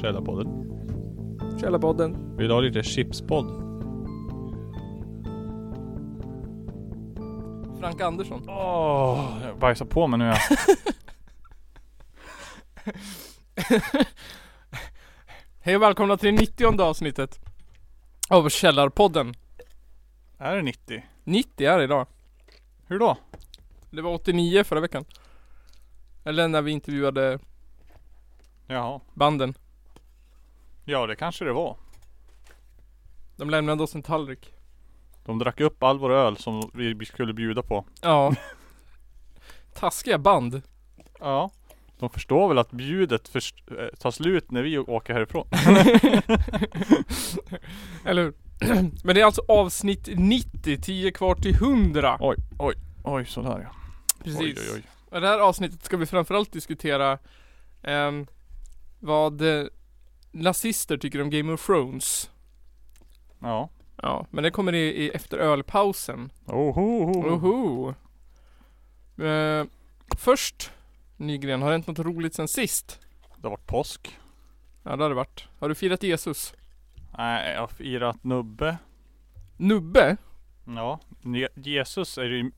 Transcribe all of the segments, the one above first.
Källarpodden. Källarpodden. Vill du ha lite chipspodd? Frank Andersson. Åh, jag bajsar på mig nu jag. Hej och välkomna till det 90 avsnittet av Källarpodden. Är det 90? 90 är det idag. Hur då? Det var 89 förra veckan. Eller när vi intervjuade Jaha. banden. Ja, det kanske det var. De lämnade oss en tallrik. De drack upp all vår öl som vi skulle bjuda på. Ja. Taskiga band. Ja. De förstår väl att bjudet först, eh, tar slut när vi åker härifrån. Eller hur? Men det är alltså avsnitt 90, 10 kvar till 100. Oj, oj, oj sådär ja. Precis. Oj, oj, oj. Och det här avsnittet ska vi framförallt diskutera ehm, vad eh, nazister tycker om Game of Thrones. Ja. Ja, men det kommer i, i efter ölpausen. Oho. Oho. Eh, först Nygren, har det hänt något roligt sen sist? Det har varit påsk. Ja det har det varit. Har du firat Jesus? Nej, jag har firat nubbe. Nubbe? Ja. Ne- Jesus är ju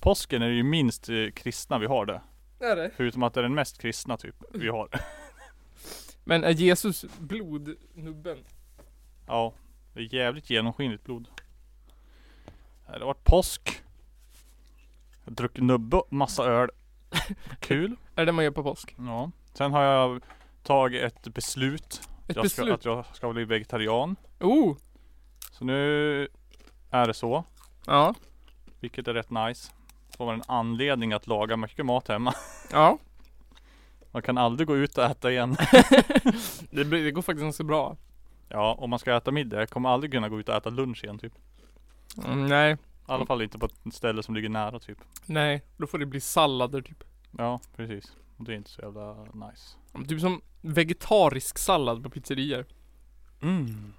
Påsken är ju minst eh, kristna vi har det. Är det? Förutom att det är den mest kristna typ vi har. Men är Jesus blodnubben? Ja, det är jävligt genomskinligt blod. Det har varit påsk. Jag druck nubbe och massa öl. Kul. Är det det man gör på påsk? Ja. Sen har jag tagit ett beslut. Ett jag ska, beslut? att jag ska bli vegetarian. Oh! Så nu är det så. Ja. Vilket är rätt nice. Får man en anledning att laga mycket mat hemma. Ja. Man kan aldrig gå ut och äta igen. Det, blir, det går faktiskt ganska bra. Ja, om man ska äta middag. Jag kommer aldrig kunna gå ut och äta lunch igen typ. Mm, nej. I alla fall inte på ett ställe som ligger nära typ. Nej. Då får det bli sallader typ. Ja, precis. Och det är inte så jävla nice. Typ som vegetarisk sallad på pizzerior. Mm.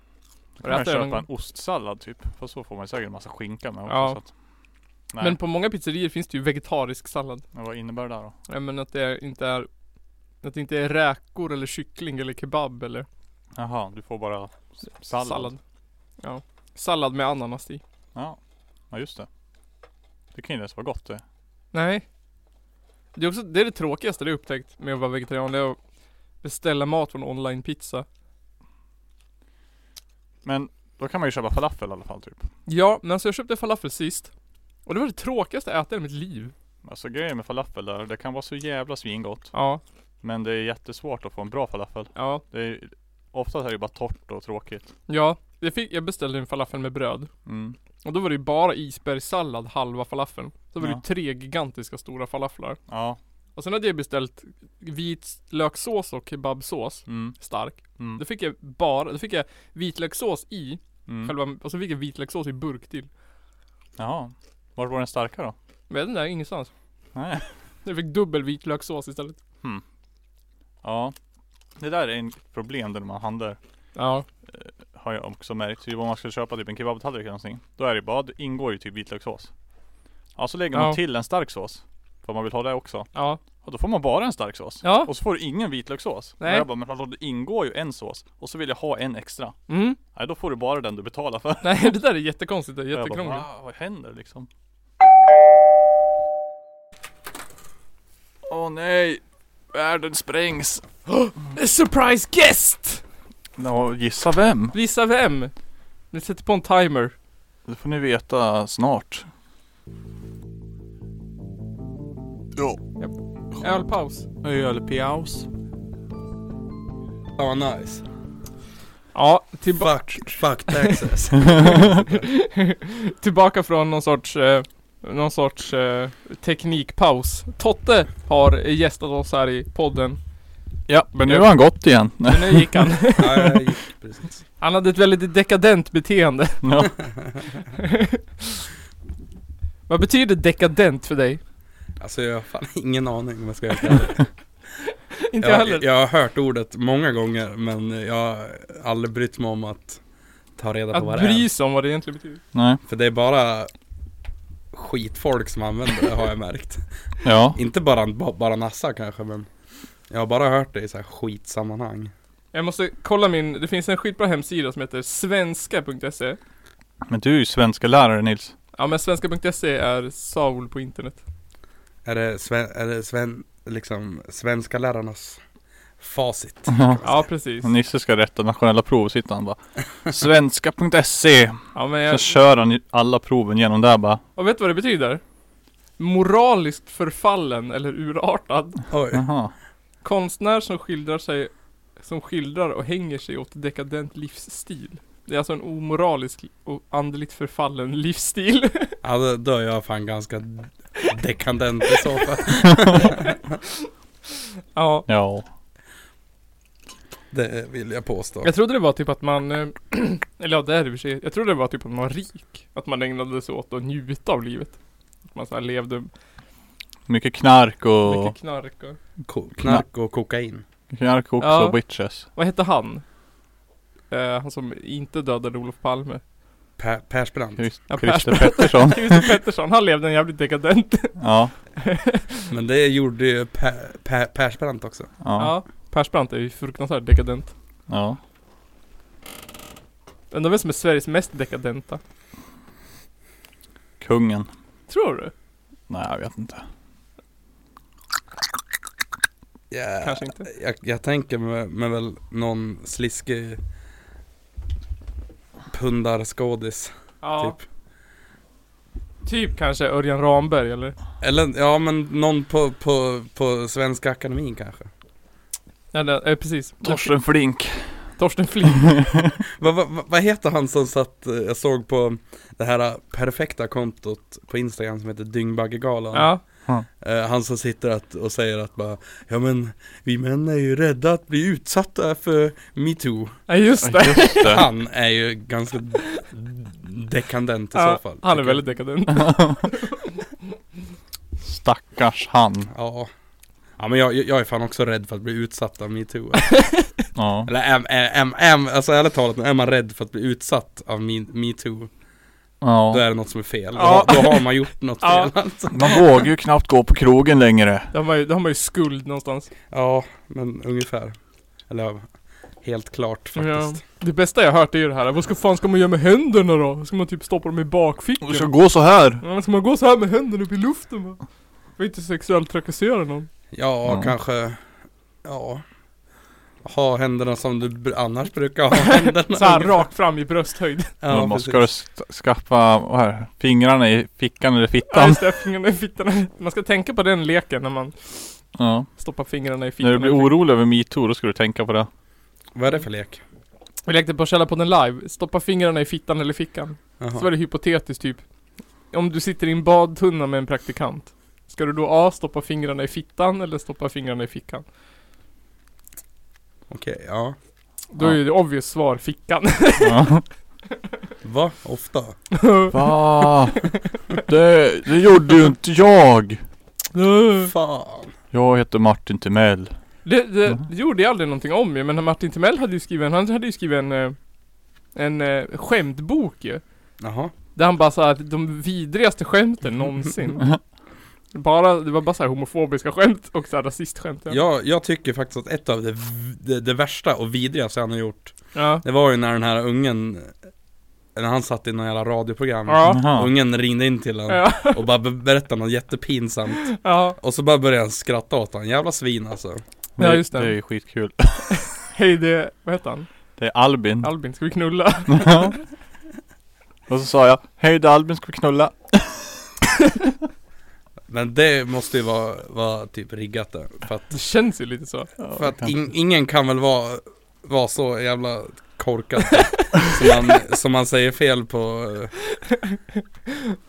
Då kan Har du man ätit det köpa någon en ostsallad typ. För så får man säkert en massa skinka med också. Ja. Så att, nej, Men på många pizzerior finns det ju vegetarisk sallad. men vad innebär det då? Ja, men att det inte är att det inte är räkor eller kyckling eller kebab eller Jaha, du får bara s- sallad. Ja. Sallad med ananas i. Ja. ja, just det. Det kan ju inte ens vara gott det. Nej. Det är också, det är det tråkigaste det jag upptäckt med att vara vegetarian. Det är att beställa mat från online pizza. Men då kan man ju köpa falafel i alla fall typ. Ja, men alltså jag köpte falafel sist. Och det var det tråkigaste jag ätit i mitt liv. Alltså grejen med falafel där, det kan vara så jävla svingott. Ja. Men det är jättesvårt att få en bra falafel. Ja. Det är, oftast är det bara torrt och tråkigt. Ja. Jag, fick, jag beställde en falafel med bröd. Mm. Och då var det ju bara isbergssallad halva falafeln. Så var det ju Ja. tre gigantiska stora falaflar. Ja. Och sen hade jag beställt vitlökssås och kebabsås. Mm. Stark. Mm. Då fick jag bara, då fick jag vitlökssås i Mm. själva, och så fick jag vitlökssås i burk till. Jaha. Vart var den starka då? Men jag vet inte, ingenstans. Nej. Jag fick dubbel vitlökssås istället. Ja. Det där är en problem när man handlar. Ja. Har jag också märkt. Typ om man ska köpa typ en kebabtallrik eller någonting. Då är det bara, det ingår ju typ vitlökssås. Ja så lägger Ja. man till en stark sås. För man vill ha det också. Ja. Och då får man bara en stark sås. Ja. Och så får du ingen vitlökssås. Nej. Nej. Jag bara, men hallå det ingår ju en sås. Och så vill jag ha en extra. Mm. Nej då får du bara den du betalar för. Nej det där är jättekonstigt, det är Och jag bara, jättekrångligt. "Va? vad händer liksom? Åh nej! Världen sprängs! A surprise guest! Nå, gissa vem? Visa vem? Vi sätter på en timer. Det får ni veta snart. Ja. Ölpaus. Ölpaus. Ja, nice. Ja, tillbaka. Fuck, fuck taxes. tillbaka från någon sorts, eh, någon sorts eh, teknikpaus. Totte har gästat oss här i podden. Ja, men nu har han gått igen. Men nu gick han. ja, jag gick precis. Han hade ett väldigt dekadent beteende. ja. Vad betyder dekadent för dig? Alltså jag har fan ingen aning om jag ska göra det. Inte jag heller. Jag, jag har hört ordet många gånger men jag har aldrig brytt mig om att ta reda på Att vad det bry är. sig om vad det egentligen betyder. Nej. För det är bara skitfolk som använder det har jag märkt. Ja. Inte bara, ba- bara Nassa kanske men jag har bara hört det i så här skitsammanhang. Jag måste kolla min, det finns en skitbra hemsida som heter svenska.se Men du är ju svenska lärare Nils. Ja men svenska.se är Saul på internet Är det, sven, är det sven, liksom, svenska lärarnas facit? Ja precis Nisse ska rätta nationella prov och sitter han bara Svenska.se Ja men Sen jag, E. kör han ju alla proven genom där bara och vet du vad det betyder? Moraliskt förfallen eller urartad Oj, Jaha Konstnär som skildrar sig Som skildrar och hänger sig åt dekadent livsstil Det är alltså en omoralisk och andligt förfallen livsstil ja, då, då är jag fan ganska dekadent i så fall. Ja Ja Det vill jag påstå. Jag trodde det var typ att man eh, Eller ja det är det i och för sig Jag trodde det var typ att man var rik Att man ägnade sig åt att njuta av livet Att man så här levde Mycket knark och mycket knark och Ko- knark och kokain. Knark också Ja. och witches Vad hette han? Eh, han som inte dödade Olof Palme Per, Persbrandt. Christ- Ja, Christer Pers- Pettersson Christer Pettersson, han levde en jävligt dekadent Ja Men det gjorde ju per, per, Persbrandt också. Ja Ja Persbrandt är ju fruktansvärt dekadent Ja Undrar vem som är Sveriges mest dekadenta Kungen Tror du? Nej jag vet inte Yeah. Kanske inte. Jag, jag tänker mig mig väl någon sliskig pundarskådis Ja typ. Typ, kanske Örjan Ramberg eller? Eller ja men någon på, på, på Svenska Akademin kanske. Eller, eh, precis Torsten Flink Torsten Flink Vad vad- vad- vad heter han som satt, eh, jag såg på det här eh, perfekta kontot på Instagram som heter Dyngbaggegalan. Ja Eh, Han som sitter att, och säger att bara, ja men vi män är ju rädda att bli utsatta för metoo. Ja just det Just det Han är ju ganska d- dekadent i Ja, så fall. Han är tycker väldigt dekadent Stackars han jag. Ja. Ja men jag, jag är fan också rädd för att bli utsatt av metoo. Ja Eller är, är, är, är, alltså ärligt talat, är man rädd för att bli utsatt av me- metoo, då Ja är det något som är fel. Ja. Då, då har man gjort något Ja. fel alltså. Man vågar ju knappt gå på krogen längre Då har man ju, då har man ju skuld någonstans. Ja, men ungefär. Eller ja, helt klart faktiskt. Det bästa jag hört är ju det här, vad ska fan ska man göra med händerna då? Ska man typ stoppa dem i bakfickan? Du ska gå så här Ja, ska man gå så här med händerna upp i luften va? Får inte sexuellt trakassera någon. Ja, Ja. kanske. Ja. Ha händerna som du br- annars brukar ha händerna. Så här rakt fram i brösthöjd. Ja, man precis. ska du st- skaffa vad här, fingrarna i fickan eller Ja fittan. just det, fingrarna i fittan. Man ska tänka på den leken när man Ja. stoppar fingrarna i fittan. När du blir orolig över metoo då ska du tänka på det. Vad är det för lek? Vi lekte på Källarpodden live, stoppa fingrarna i fittan eller fickan. Jaha. Så var det hypotetiskt typ. Om du sitter i en badtunna med en praktikant. Ska du då A. Stoppa fingrarna i fittan eller stoppa fingrarna i fickan? Okej, ja. Då är ju det obvious svar fickan. Ja. Va? Ofta? Va? Det, det gjorde ju inte jag! Mm. Fan. Jag heter Martin Timell. Det, det, Mhm. det gjorde jag aldrig någonting om ju, men Martin Timell hade ju skrivit en, han hade ju skrivit en, eh, en eh, skämtbok ju. Jaha. Där han bara såhär, de vidrigaste skämten någonsin. bara, det var bara såhär homofobiska skämt och såhär rasistskämt. Ja. Jag, jag tycker faktiskt att ett av det, v- det, det värsta och vidrigaste han har gjort, Ja. det var ju när den här ungen, när han satt i någon jävla radioprogram. Ja. Jaha. Ungen ringde in till honom Ja. och bara be- berättade något jättepinsamt. ja. Och så bara började han skratta åt honom. Jävla svin alltså. Ja, just det. Det är ju skitkul. Hej det, vad heter han? Det är Albin. Albin, ska vi knulla? Och så sa jag, hej det är Albin ska vi knulla? Men det måste ju vara, vara typ riggat där. För att Det känns ju lite så. För att in, ingen kan väl vara, vara så jävla korkad som, man, som man säger fel på eh,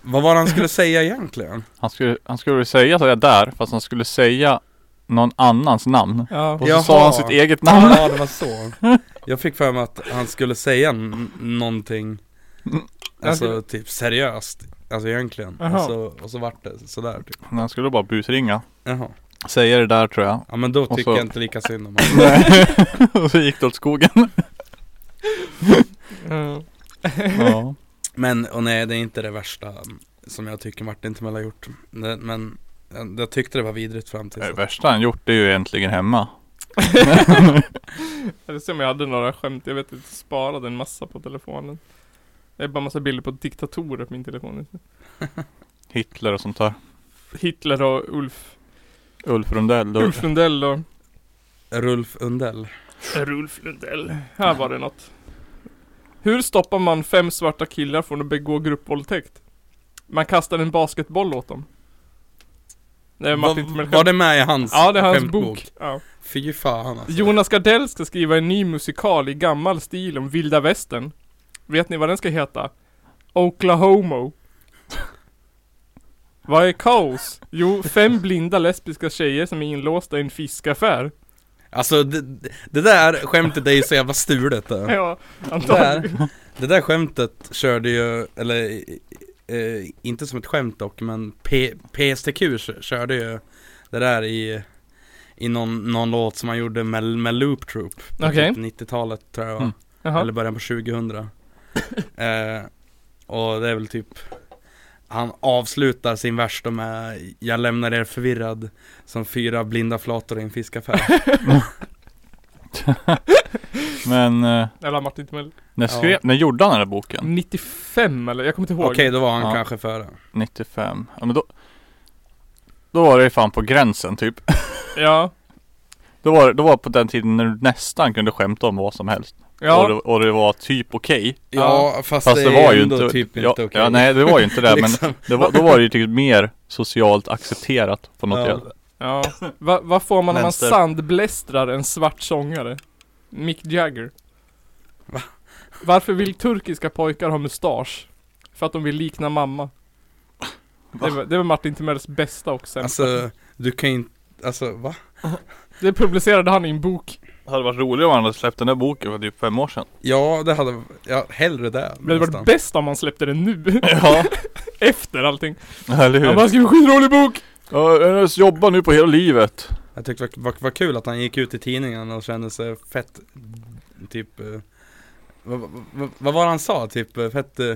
Vad var det han skulle säga egentligen? han, skulle, han skulle säga så jag där, fast han skulle säga någon annans namn. Ja. Och så Jaha. sa han sitt eget namn. Ja det var så Jag fick för mig att han skulle säga n- någonting Alltså typ seriöst Alltså egentligen Jaha. och så, och så vart det sådär typ Men Han skulle bara busringa. Jaha. Säga det där tror jag. Ja men då Och tycker så- jag inte lika synd om honom Nej. och så gick det åt skogen. Mm. Ja. Men och nej det är inte det värsta Som jag tycker Martin Timell har gjort. Men- Men jag- jag tyckte det var vidrigt fram till Det så. värsta han gjort är ju egentligen hemma. Eller se om jag hade några skämt, jag vet inte, sparade en massa på telefonen. Det är bara massa bilder på diktatorer på min telefon just nu. Hitler och sånt där. Hitler och Ulf, Ulf Rundell. då- Ulf Lundell och Rulf Undell. Ulf Lundell. Här var det något. Hur stoppar man fem svarta killar från att begå gruppvåldtäkt? Man kastar en basketboll åt dem. Nej, Martin Var, Timell var det med i hans Ja, det är hans skämtbok? bok. Ja. Fy fan alltså. Jonas Gardell ska skriva en ny musikal i gammal stil om vilda västern. Vet ni vad den ska heta? Oklahoma. Vad är kaos? Jo, fem blinda lesbiska tjejer som är inlåsta i en fiskaffär. Alltså det, det där skämtet är ju så jävla stulet det. Ja, antagligen. Där, det där skämtet körde ju, eller eh, eh, inte som ett skämt dock, men P, PSTQ kö- körde ju det där i, i någon, någon låt som han gjorde med, med Loop Troop. på Okej. Typ 90-talet tror jag det var. Mm. Jaha. Eller början på 2000 eh, Och det är väl typ Han avslutar sin vers då med Jag lämnar er förvirrad Som fyra blinda flator i en fiskaffär Men eh, Eller Martin Timell. när, skrev, när gjorde han den här boken? 95 eller? Jag kommer inte ihåg. Okej då var han Ja. kanske före 95. Ja men då. Då var det ju fan på gränsen typ. Ja. Då var det då var det på den tiden när du nästan kunde skämta om vad som helst. Och, det, Ja. och det var typ okej. Ja, Ja fast, Fast det, var ju ändå inte, typ ja, inte okej ja, nej det var ju inte det Liksom. men det var, då var det ju typ mer socialt accepterat på något Ja. sätt. ja. Va, vad får man när man Vänster. sandblästrar en svart sångare? Mick Jagger. Va? Varför vill turkiska pojkar ha mustasch? För att de vill likna mamma. Det var, det var Martin Timells bästa och sämsta. Alltså du kan ju inte Alltså va? Det publicerade han i en bok. Det hade varit roligare om han hade släppt den där boken för typ fem år sedan. Ja det hade, ja hellre det Men det hade nästan. varit bäst om han släppte den nu. Ja, Efter allting. eller hur? Han bara skrev en skitrolig bok! Ja, jag jobbar nu på hela livet. Jag tyckte det var, var, var kul att han gick ut i tidningen och kände sig fett Typ eh, Vad vad- vad var det han sa? Typ eh, fett eh,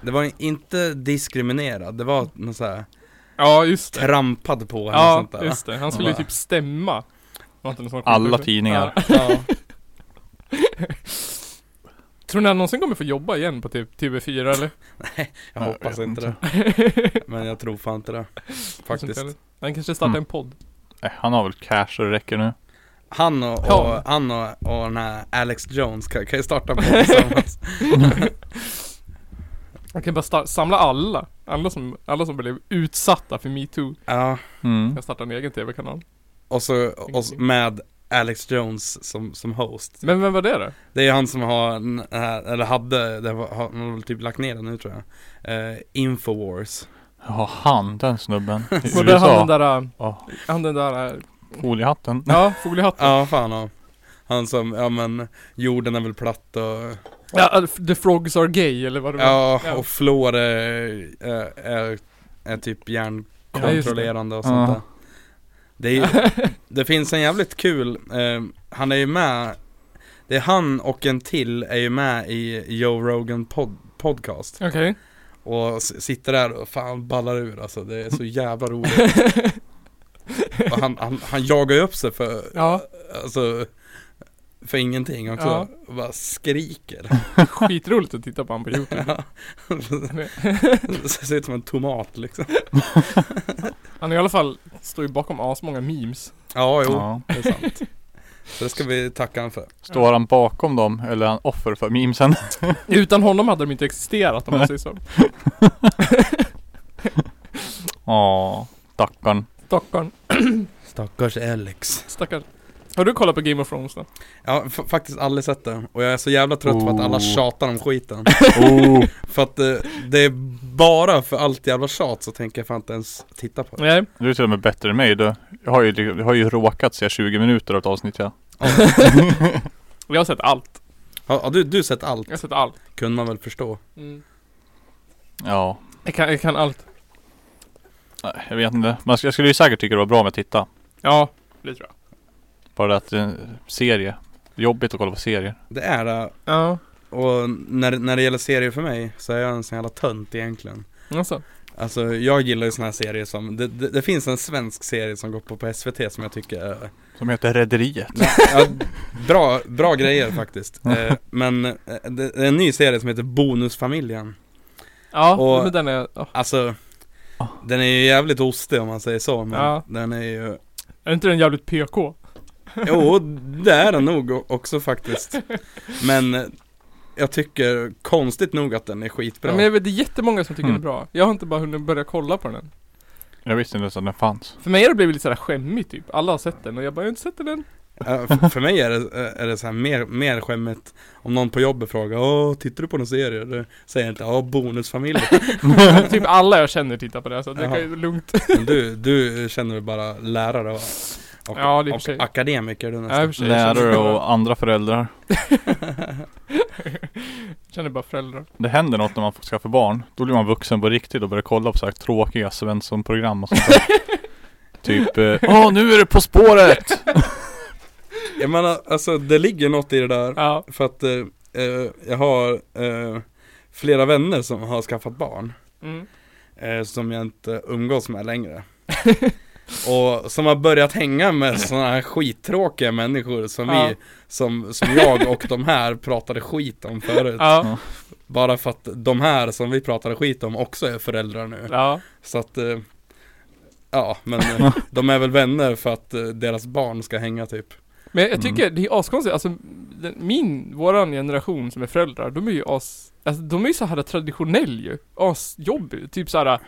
Det var inte diskriminerad, det var något så här Ja, just det. trampad på eller Ja, sånt där va? just det. Han skulle ju bara- typ stämma. Var inte någon sån Alla sjuk- tidningar. Ja. ja. Tror ni han någonsin kommer få jobba igen på typ TV4 eller? Jag Jag hoppas vet inte det Men jag tror fan inte det Faktiskt Han kanske startar Mm. en podd. Nej, han har väl cash så det räcker nu. Han och, Ja. och, han och, och den här Alex Jones kan, kan ju starta på tillsammans Han kan bara sta- samla alla. Alla som, alla som blev utsatta för metoo. Ja, Mm. Kan starta en egen TV-kanal. Mm. och så och, så med Alex Jones som, som host Men vem var det då? Det är han som har, den här- eller hade, det var, har- han har väl typ lagt ner den nu tror jag Eh, Infowars Ja, han den snubben. I Var det han USA. den där, äh, Ja. han den där, äh, Foliehatten. ja, foliehatten? Ja fan ja Han som, ja men jorden är väl platt och Ja, äh, the frogs are gay eller vad det var? Ja Ja. och flår är, är, är, är typ hjärnkontrollerande och Ja, just sånt det. där det, är, ju- det finns en jävligt kul, eh, han är ju med Det är han och en till är ju med i Joe Rogan pod, podcast Okej. Och s- sitter där och fan ballar ur alltså, det är så jävla roligt och han, han, han jagar ju upp sig för, Ja, alltså För ingenting också, Ja. och bara skriker skitroligt att titta på han på youtube. Ja. Ser ut som en tomat liksom Han i alla fall står ju bakom asmånga memes. Ja jo, Ja. det är sant Så det ska vi tacka han för Står han bakom dem eller är han offer för memesen? Utan honom hade de inte existerat om man säger så. Ja, stackarn. Stockholm, Stackars Alex stackars. Har du kollat på Game of Thrones då? Jag har fa- faktiskt aldrig sett det, och jag är så jävla trött på att alla Oh. tjatar om skiten Oh. För att eh, det är bara för allt jävla tjat så tänker jag fan inte ens titta på det Nej. Du är till och med bättre än mig du. Jag har ju, jag har ju råkat se 20 minuter av ett avsnitt ja. Jag har sett allt. Har, har du, du sett allt? Jag har sett allt. Kunde man väl förstå Ja. Jag, kan, jag kan allt. Nej, Jag vet inte. Men jag sk- jag skulle ju säkert tycka det var bra om jag tittade. Ja, det tror jag. Bara det att eh, serie. Jobbigt att kolla på serier. Det är, eh, Ja. och när, när det gäller serier för mig så är jag en sån jävla tönt egentligen Alltså, Alltså jag gillar ju såna här serier som, det, det, det finns en svensk serie som går på, på SVT som jag tycker är Som heter Rederiet. ja, bra, bra grejer faktiskt eh, Men eh, det, det är en ny serie som heter Bonusfamiljen ja Och- men den är, ja. Alltså Ah. Den är ju jävligt ostig om man säger så men Ja. den är ju är inte den jävligt PK? Jo det är den nog o- också faktiskt Men eh, jag tycker konstigt nog att den är skitbra Ja, men jag vet, det är jättemånga som tycker Mm. den är bra. Jag har inte bara hunnit börja kolla på den än. Jag visste inte ens att den fanns. För mig har det blivit lite sådär skämmigt typ. Alla har sett den och jag bara, jag har inte sett den än. Ja, för- För mig är det, eh, är det så här mer, mer skämmigt om någon på jobbet frågar Åh, tittar du på någon serie? Då säger jag inte Åh, bonusfamilj Men typ alla jag känner tittar på det så det Jaha. kan ju lugnt. Men du, du känner väl bara lärare och, och, Ja, det är i och för sig. och akademiker du Ja, i och nästan för sig, jag känner Lärare bara- och andra föräldrar. Känner bara föräldrar. Det händer något när man skaffar barn. Då blir man vuxen på riktigt och börjar kolla på så här tråkiga Svensson-program och sånt där. Typ, eh, åh nu är det På spåret! Jag menar, alltså det ligger något i det där Ja. För att eh, eh, jag har eh, flera vänner som har skaffat barn Mm. eh, Som jag inte umgås med längre Och som har börjat hänga med sådana här skittråkiga människor som Ja. vi som, som jag och de här pratade skit om förut Ja. Bara för att de här som vi pratade skit om också är föräldrar nu Ja. Så att, eh, ja men eh, de är väl vänner för att eh, deras barn ska hänga typ Men Mm. jag tycker det är askonstigt, alltså den, min, våran generation som är föräldrar, de är ju as, alltså de är ju så här traditionell ju, asjobbig, typ så här.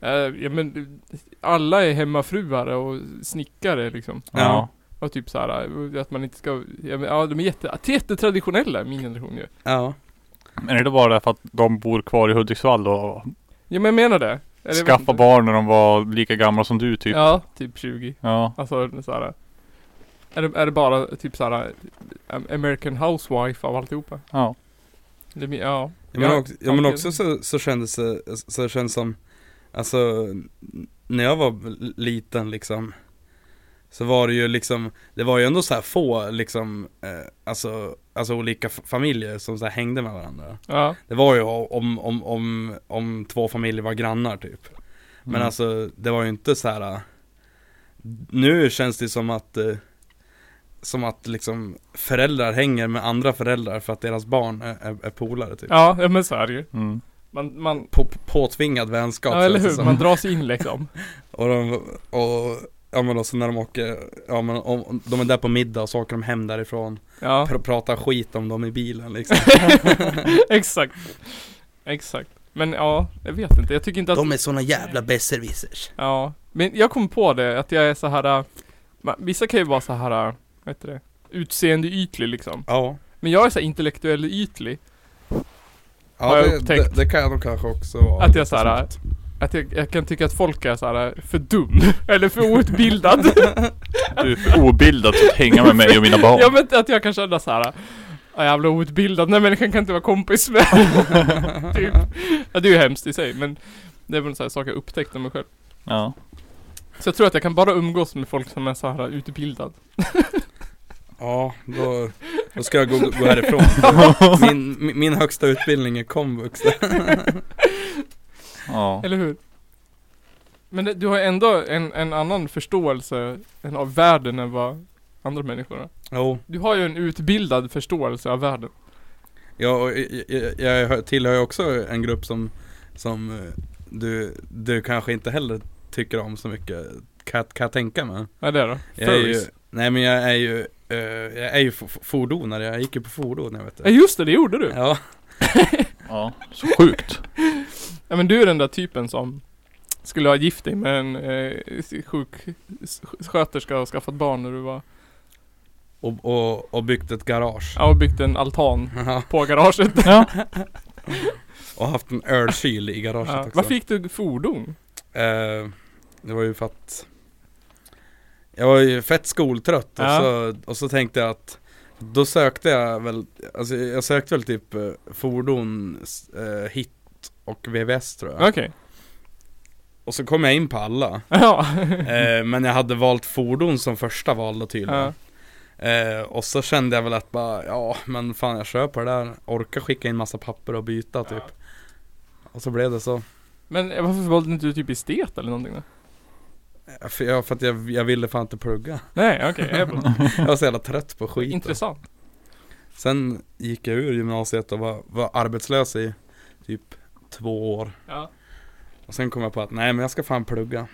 eh, ja men, alla är hemmafruar och snickare liksom. Ja. Och typ så här eh, att man inte ska, ja, men, ja de är jätte, jättetraditionella min generation ju. Ja, Men är det bara därför att de bor kvar i Hudiksvall och Ja men jag menar det. Eller jag vet skaffade inte. barn när de var lika gamla som du typ? Ja, typ 20. Ja. Alltså så här. Är det, är det bara typ så här eh, American housewife av alltihopa? ja. Det, är min- ja. ja men Ja, också, ja, men tanken. också så, så kändes det, så det kändes som Alltså, när jag var liten liksom Så var det ju liksom, det var ju ändå så här få liksom eh, Alltså, alltså olika f- familjer som så här hängde med varandra Ja. Det var ju om, om, om, om två familjer var grannar typ Men Mm. alltså det var ju inte så här. äh, Nu känns det som att eh, Som att liksom föräldrar hänger med andra föräldrar för att deras barn är, är, är polare typ Ja, ja men så är det ju. Mm. Man, man, På, på- påtvingad vänskap ja, eller känns det hur, som. man dras in liksom. Och de, och Ja men då så när de åker, ja men om, om de är där på middag och så åker de hem därifrån Ja, pr- Pratar skit om dem i bilen liksom exakt. Exakt. Men ja, jag vet inte. Jag tycker inte att... är såna jävla besserwissers Ja. Men jag kom på det, att jag är så här. äh, ma- Vissa kan ju vara så här, äh, vad heter det? Utseendeytlig liksom. Ja Men jag är så här intellektuell ytlig. Har Ja jag det, det, upptäckt. det kan jag nog kanske också vara Att jag så här- äh, Att jag, jag kan tycka att folk är så här äh, för dum. Eller för outbildad. Du är för obildad för att hänga med mig och mina barn. Jag vet inte att jag kan känna så här. Ja, jävla outbildad. Nej människan kan inte vara kompis med. typ. Ja, det är ju hemskt i sig men det är väl en sån här sak jag upptäckt om mig själv. Ja. Så jag tror att jag kan bara umgås med folk som är så här utbildad. Ja, då, då ska jag gå, gå härifrån. Min, min- min högsta utbildning är komvux. Ja. Eller hur? Men det, du har ändå en, en annan förståelse än av världen än vad andra människor har. Jo, Du har ju en utbildad förståelse av världen. jag, och jag, jag hör- tillhör ju också en grupp som, som eh, du, du kanske inte heller tycker om så mycket, kan, jag- kan jag tänka mig. Vad är det då? Jag är ju, Furries. nej men jag är ju, eh, jag är ju fo- fo- fordonare, jag gick ju på fordon jag vet Ja du. just det, det gjorde du. Ja, Ja. Så sjukt. Ja men du är den där typen som skulle ha gift dig med en eh, sjuksköterska och skaffat barn när du var, och, och, och byggt ett garage. ja och byggt en altan Ja, på garaget. Ja. och haft en ölkyl i garaget Ja. också. Varför gick du fordon? Eh, det var ju för att Jag var ju fett skoltrött Ja. och, så, och så tänkte jag att Då sökte jag väl, alltså jag sökte väl typ eh, fordon, s- eh, hit och VVS tror jag Okej. Och så kom jag in på alla Ja. eh, Men jag hade valt fordon som första val då tydligen ja. Eh, och så kände jag väl att bara, ja men fan jag köper det där. Orka skicka in massa papper och byta typ. Och så blev det så. Men eh, varför valde inte du typ estet eller någonting då? Eh, För jag, för att jag, jag ville fan inte plugga. Nej okej, jag är bara- Jag var så jävla trött på skiten. intressant. Sen gick jag ur gymnasiet och var, var arbetslös i typ två år. Ja. Och sen kom jag på att nej men jag ska fan plugga.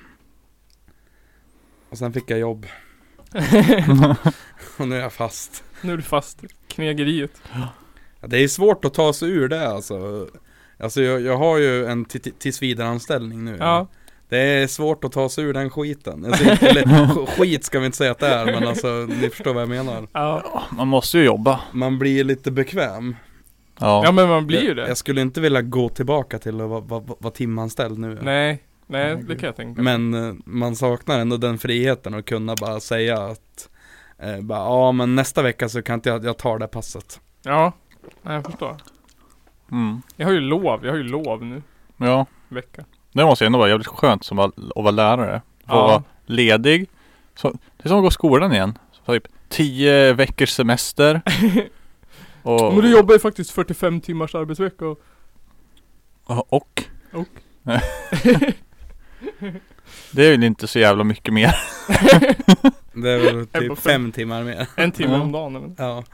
Och sen fick jag jobb. Och nu är jag fast. nu är du fast. Knegeriet. Ja, Det är svårt att ta sig ur det alltså. Alltså jag, jag har ju en ti- ti- tillsvidareanställning nu. Ja. Det är svårt att ta sig ur den skiten. Alltså, eller, sk- skit ska vi inte säga att det är, men alltså ni förstår vad jag menar. Ja. Man måste ju jobba. Man blir lite bekväm. ja men man blir ju Jag- det. Jag skulle inte vilja gå tillbaka till att vara va, va, vara timanställd nu. Nej, nej det kan jag tänka mig. Men eh, man saknar ändå den friheten att kunna bara säga att eh, bara, ja men nästa vecka så kan inte jag, jag tar det passet. Ja, nej, jag förstår. Mm. Jag har ju lov, jag har ju lov nu. Ja. Vecka. Det måste ju ändå vara jävligt skönt som att att vara lärare. Få Ja. vara ledig. Så, det är som att gå i skolan igen. Så typ tio veckors semester. Och, Men du jobbar ju faktiskt 45 timmars arbetsvecka och... och, och. Och. Det är väl inte så jävla mycket mer. Det är väl Jag är på fem. typ fem timmar mer. En timme Ja. om dagen. Men. Ja.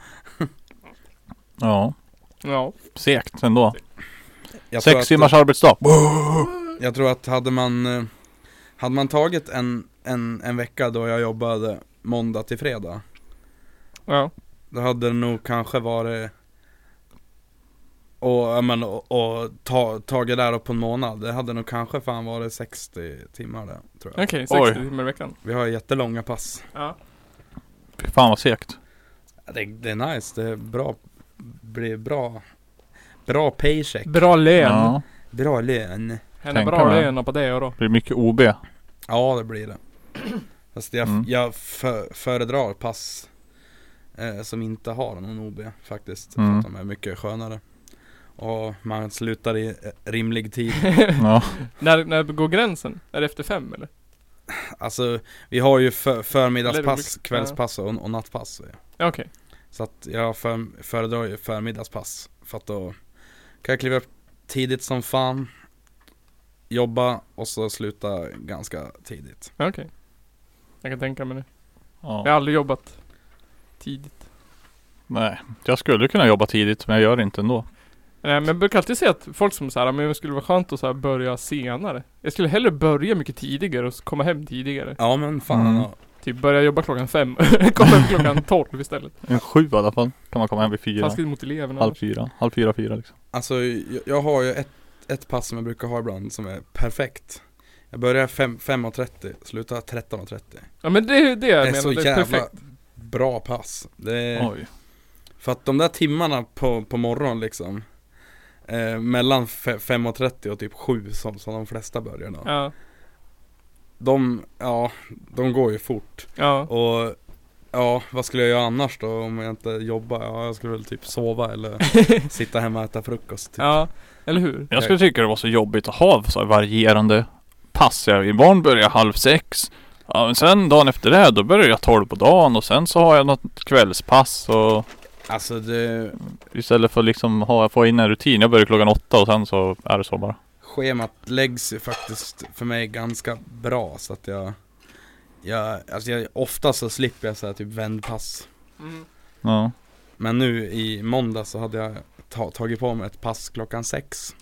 Ja. Ja. Segt ändå. Jag tror Sex att- timmars arbetsdag. Jag tror att hade man eh, Hade man tagit en, en, en vecka då jag jobbade måndag till fredag Ja. Då hade det nog kanske varit Och, ja, men, och, och ta, tagit där på en månad Det hade nog kanske fan varit 60 timmar det tror jag Okej, Oj. 60 timmar i veckan. Vi har jättelånga pass Ja. Fy fan vad segt. Ja, det, det är nice, det är bra Blir bra Bra paycheck Bra lön. Ja. Ja. Bra lön Henne Tänka bra mig. löner på det och då. Det blir mycket OB. Ja det blir det Fast jag, Mm. jag för, föredrar pass eh, Som inte har någon OB faktiskt För Mm. att de är mycket skönare Och man slutar i eh, rimlig tid Ja. När, när går gränsen? Är det efter fem eller? Alltså vi har ju för, Eller det förmiddagspass, brukar- kvällspass och, och nattpass eh. Ja, Okej. Så att jag för, föredrar ju förmiddagspass För att då kan jag kliva upp tidigt som fan Jobba och så sluta ganska tidigt Ja, Okej. Jag kan tänka mig det. Jag har ja. aldrig jobbat tidigt. Nej. Jag skulle kunna jobba tidigt men jag gör det inte ändå. Nej Eh, men jag brukar alltid säga att folk som såhär, men det skulle vara skönt att så här börja senare. Jag skulle hellre börja mycket tidigare och komma hem tidigare. Ja men fan Mm. ja. Typ börja jobba klockan fem, komma hem klockan tolv istället. En sju i alla fall. Kan man komma hem vid fyra. Taskigt mot eleverna. Halv fyra. Halv fyra, fyra liksom. Alltså jag, jag har ju ett, ett pass som jag brukar ha ibland som är perfekt Jag börjar fem- 5.30, slutar 13.30 Ja men det är ju det jag Det är menar, så det är jävla perfekt. bra pass det är, Oj. För att de där timmarna på, på morgonen liksom eh, Mellan fe- 5.30 och typ 7 som, som de flesta börjar då Ja, De, ja, de går ju fort ja. Och Ja, vad skulle jag göra annars då om jag inte jobbar? Ja, jag skulle väl typ sova eller sitta hemma och äta frukost typ. Ja, eller hur? Jag skulle tycka det var så jobbigt att ha så här varierande pass. Jag- Imorgon börjar jag halv sex. Ja, men sen dagen efter det då börjar jag tolv på dagen och sen så har jag något kvällspass och Alltså det, istället för liksom ha, få in en rutin. Jag börjar klockan åtta och sen så är det så bara. schemat läggs ju faktiskt för mig ganska bra så att jag, jag alltså jag, ofta så slipper jag så här typ vändpass Mm. Ja. Men nu i måndag så hade jag ta, tagit på mig ett pass klockan sex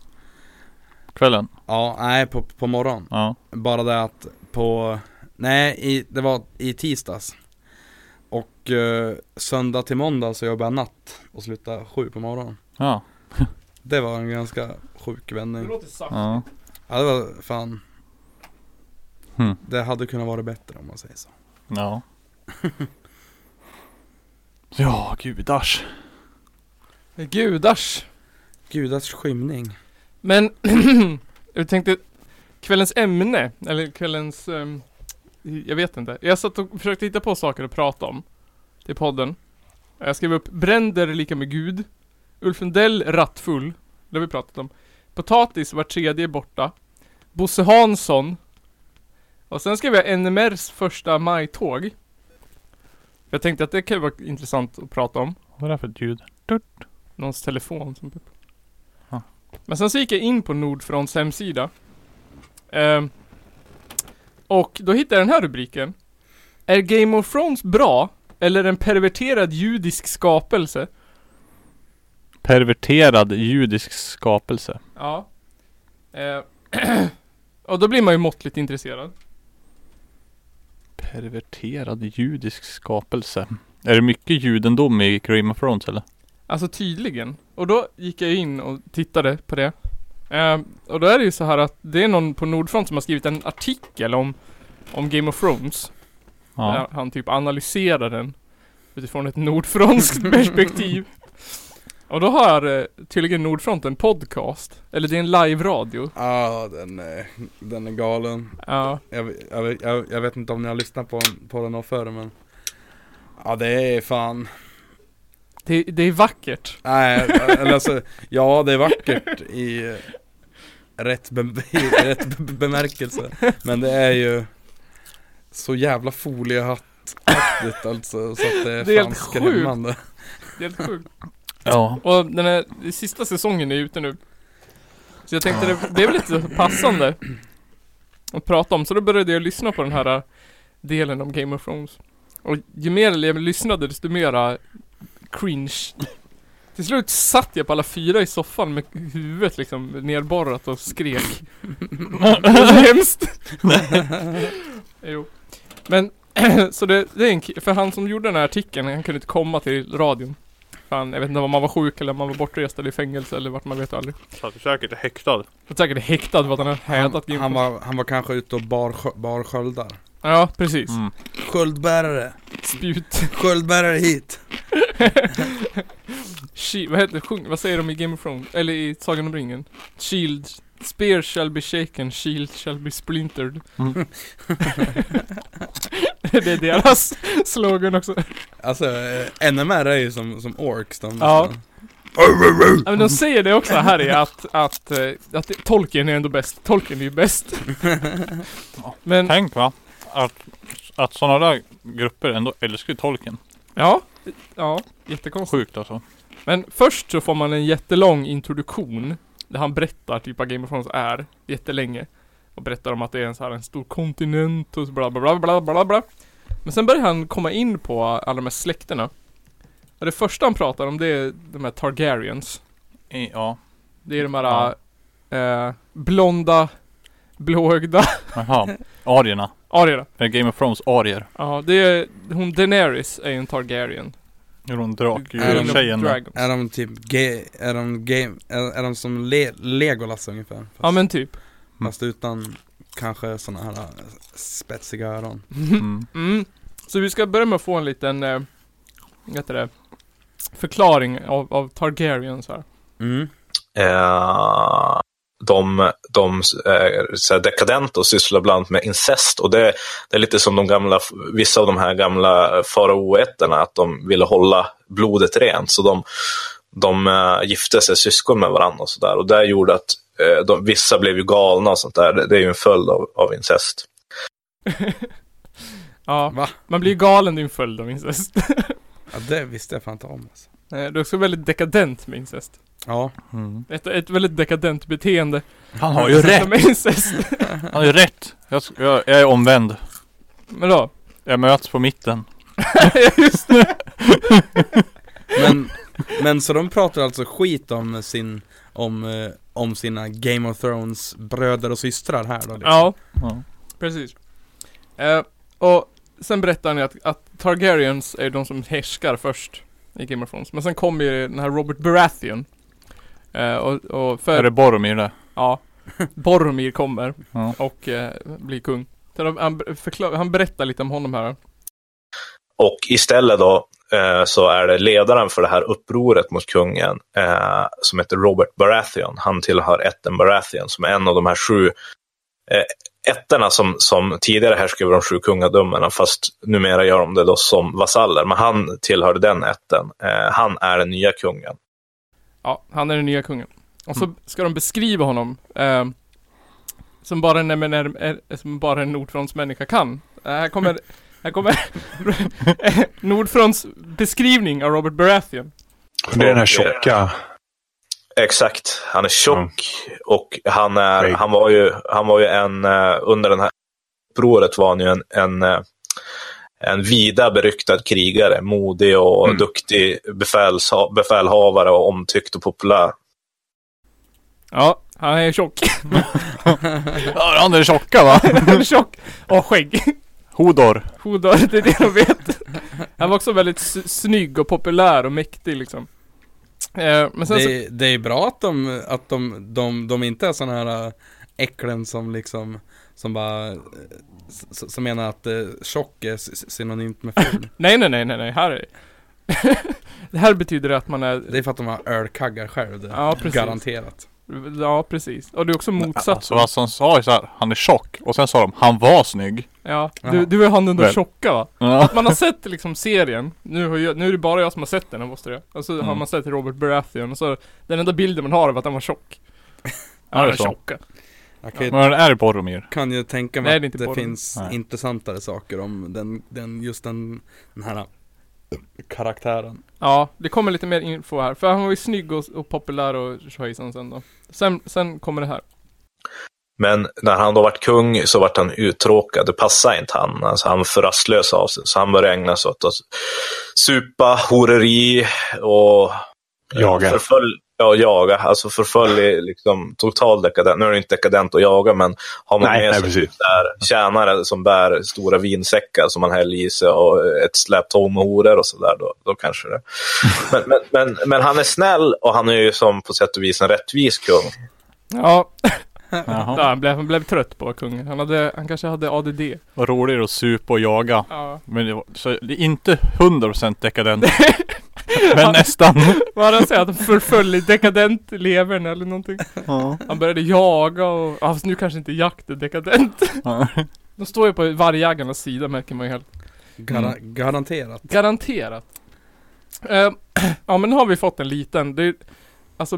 Kvällen. Ja, nej på, på morgon Ja. Bara det att på, nej i, det var i tisdags Och eh, söndag till måndag så jobbade jag natt och slutade sju på morgonen Ja. Det var en ganska sjuk vändning låter saftigt. Ja. Ja det var fan Hmm. Det hade kunnat vara bättre om man säger så Ja. ja, gudars. Gudars. Gudars skymning Men, jag tänkte, kvällens ämne, eller kvällens, ehm, jag vet inte. Jag satt och försökte hitta på saker att prata om i podden. Jag skrev upp bränder är lika med Gud, Ulf Lundell rattfull, det har vi pratat om. Potatis var tredje är borta, Bosse Hansson, och sen skrev jag NMRs första majtåg. Jag tänkte att det kan ju vara intressant att prata om. Vad är det här för ett ljud? Någons telefon som pip. Ja. Men sen så gick jag in på Nordfronts hemsida. Ehm, och då hittade jag den här rubriken. Är Game of Thrones bra? Eller en perverterad judisk skapelse? Perverterad judisk skapelse. Ja. Eh, och då blir man ju måttligt intresserad. Perverterad judisk skapelse. Är det mycket judendom i Game of Thrones eller? Alltså tydligen. Och då gick jag in och tittade på det. Eh, och då är det ju så här att det är någon på Nordfront som har skrivit en artikel om, om Game of Thrones. Där Ja. han typ analyserar den utifrån ett nordfronskt perspektiv. Och då har eh, tydligen Nordfront en podcast. Eller det är en live-radio. Ah, den är, den är galen. Ja. Jag, jag, jag, jag vet inte om ni har lyssnat på, på den någon förr men Ja det är fan det, det är vackert. Nej, eller alltså, ja det är vackert i eh, rätt, be- i rätt be- bemärkelse Men det är ju så jävla foliehattaktigt alltså så att det är, Det är fan helt skrämmande Det är helt sjukt. Ja. Och den här den sista säsongen är ute nu. Så jag tänkte det, det är väl lite passande att prata om. Så då började jag lyssna på den här äh, delen om Game of Thrones. Och ju mer jag lyssnade desto mera cringe. Till slut satt jag på alla fyra i soffan med huvudet liksom nerborrat och skrek. det var så hemskt. jo. Men, så det, det är en ki- För han som gjorde den här artikeln, han kunde inte komma till radion. Fan, jag vet inte om man var sjuk eller om man var bortrest eller i fängelse eller vart man vet aldrig. Satt säkert häktad. Jag är säkert häktad för att han har hädat han, Game han, of Thrones. var, han var kanske ute och bar, skö- bar sköldar Ja, precis. Mm. Sköldbärare, Spjut. sköldbärare hit! Shi- vad heter det? Sjung, vad säger de i Game of Thrones? Eller i Sagan om ringen? Shield. Spear shall be shaken, shield shall be splintered. Mm. det är deras slogan också. Alltså eh, NMR är ju som, som orks de Ja. Ja, men de säger det också här i att, att, eh, att det- Tolkien är ändå bäst. Tolkien är ju bäst. Men, Tänk va? Att, att sådana där grupper ändå älskar ju tolken. ja. Ja, jättekonstigt. Sjukt alltså. Men först så får man en jättelång introduktion Där han berättar typ vad Game of Thrones är Jättelänge Och berättar om att det är en så här en stor kontinent och så bla bla bla bla bla bla Men sen börjar han komma in på alla de här släkterna Och det första han pratar om det är de här Targaryens I, ja. Det är de här eh, blonda Blåögda Jaha. Arierna. Arierna Det är Game of Thrones arier. Ja det är Hon Daenerys är ju en Targaryen Är hon Är de- draktjejen? där? Dragons. Är de typ ge, är de game, är, är de som le, Legolas ungefär? Fast, Ja men typ fast utan kanske såna här äh, spetsiga öron Mm. Mm. Så vi ska börja med att få en liten, eh, vad heter det, förklaring av, av Targaryen så här. mm. Eh, de de är så här dekadenta och sysslar bland annat med incest. Och det, det är lite som de gamla, vissa av de här gamla faraoätterna, att de ville hålla blodet rent. Så de, de eh, gifte sig syskon med varandra och sådär. Och det gjorde att eh, de, vissa blev ju galna och sånt där. Det, det är ju en följd av, av incest. ja, Va? man blir ju galen i en följd av incest. Ja det visste jag fan inte om alltså. Eh, det är också väldigt dekadent med incest. Ja, Mm. Ett, ett väldigt dekadent beteende. Han har ju rätt! Med incest. Han har ju rätt! Jag, sk- jag, jag är omvänd. Men då? Jag möts på mitten. Just det. men, men så de pratar alltså skit om sin, om, eh, om sina Game of Thrones bröder och systrar här då liksom. Ja, Ja. precis. Eh, och sen berättar ni att, att Targaryens är de som härskar först i Game of Thrones. Men sen kommer ju den här Robert Baratheon. Eh, och, och för... Är det Boromir där? Ja. Boromir kommer Ja. och eh, blir kung. Så de- Han, förklar, han berättar lite om honom här. Och istället då eh, så är det ledaren för det här upproret mot kungen eh, som heter Robert Baratheon. Han tillhör ätten Baratheon som är en av de här sju eh, ätterna som, som tidigare härskade över de sju kungadömena fast numera gör de det då som vasaller. Men han tillhörde den ätten. Eh, han är den nya kungen. Ja, han är den nya kungen. Och så ska de beskriva honom eh, som bara en, men, är, är, som bara en nordfrontsmänniska kan. Eh, här kommer Här kommer Nordfronts beskrivning av Robert Baratheon. Det är den här Och, tjocka. Eh, Exakt, han är tjock Mm. och han, är, Skägg. han, var ju, han var ju en, eh, under den här upproret var han ju en, en, eh, en vida beryktad krigare, modig och Mm. duktig befälsha- befälhavare och omtyckt och populär. Ja, han är tjock. Ja, han är tjocka va? han är tjock. Och skägg. Hodor. Hodar, det är det de vet. Han var också väldigt s- snygg och populär och mäktig liksom. Eh, men sen så, Det, det är bra att de, att de, de, de inte är sådana här äh, äcklen som liksom, som bara, äh, s- s- som menar att äh, tjock är s- s- synonymt med ful. nej nej nej nej nej, här är Det här betyder att man är, Det är för att de har ölkaggar själv. Det. Ja, precis. Garanterat. ja precis. Och du är också motsatt. Alltså vad som sa är så här, han är tjock. Och sen sa de, han var snygg. Ja, Jaha. du, du är han den där Väl. tjocka va? Ja. Man har sett liksom serien, nu, har jag, nu är det bara jag som har sett den, jag måste det. Och så har Mm. man sett Robert Baratheon, och så den enda bilden man har av att han var tjock. Han det var är så. tjock. Jag kan ju, Men är det Boromir? kan ju tänka mig Nej, det är att inte det porr. finns Nej. intressantare saker om den, den just den, den här karaktären. Ja, det kommer lite mer info här. För han var ju snygg och, och populär och tjohejsan sen då. Sen, sen kommer det här. Men när han då vart kung så vart han uttråkad. Det passade inte han. Alltså, han var för rastlös av sig. Så han började ägna sig åt att supa, horeri och eh, Jaga. Förfölj, ja, jaga. Alltså förfölj, liksom total dekadent. Nu är det inte dekadent att jaga, men har man Nej, med nej, sig precis. där, tjänare som bär stora vinsäckar som man häller i sig och ett släp tom med horor och sådär, då, då kanske det. Men, men, men, men han är snäll och han är ju som på sätt och vis en rättvis kung. Ja, där, Jaha. han, blev, han blev trött på att vara kung. Han, hade, han kanske hade ADD. Vad roligare att supa och jaga. Ja. Men det var, så det är inte 100% dekadent. Men nästan. Vad hade han sagt? Att han förföljde dekadent levern eller någonting. Han började jaga och, ja, fast nu kanske inte jakt är dekadent. De står ju på vargjägarnas sida märker man ju helt. Gara- Mm. Garanterat. Garanterat. Eh, ja men nu har vi fått en liten, det är, alltså,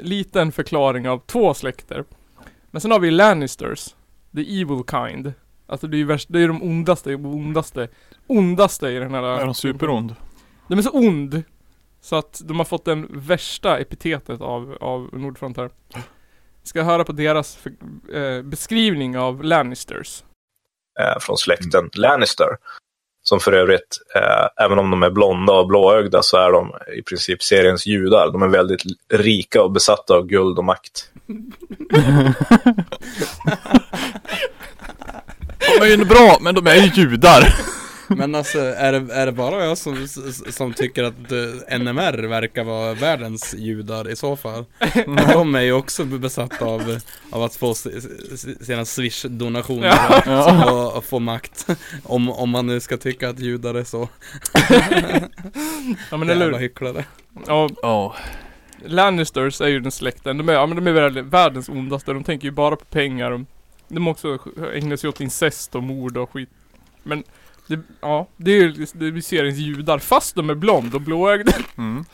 liten förklaring av två släkter. Men sen har vi Lannisters, the evil kind. Alltså det är ju värst, det är ju de ondaste, ondaste, ondaste i den här... Är de superond? De är så ond. Så att de har fått den värsta epitetet av, av Nordfront här. Ska höra på deras för, eh, beskrivning av Lannisters. eh, från släkten Lannister. Som för övrigt, eh, även om de är blonda och blåögda, så är de i princip seriens judar. De är väldigt rika och besatta av guld och makt. De är ju bra, men de är ju judar. Men alltså, är det, är det bara jag som, s- som tycker att eh, NMR verkar vara världens judar i så fall? De är ju också besatta av, av att få s- s- sina swish-donationer Ja. och, och få makt. Om, om man nu ska tycka att judar är så Ja men eller jävla hur? hycklare. Ja, Ja. Lannisters är ju den släkten, de är, ja, men de är väl världens ondaste, de tänker ju bara på pengar. De, de också ägnar sig åt incest och mord och skit. Men, det, ja, det är ju det är seriens judar. Fast de är blond och blåögda Mm.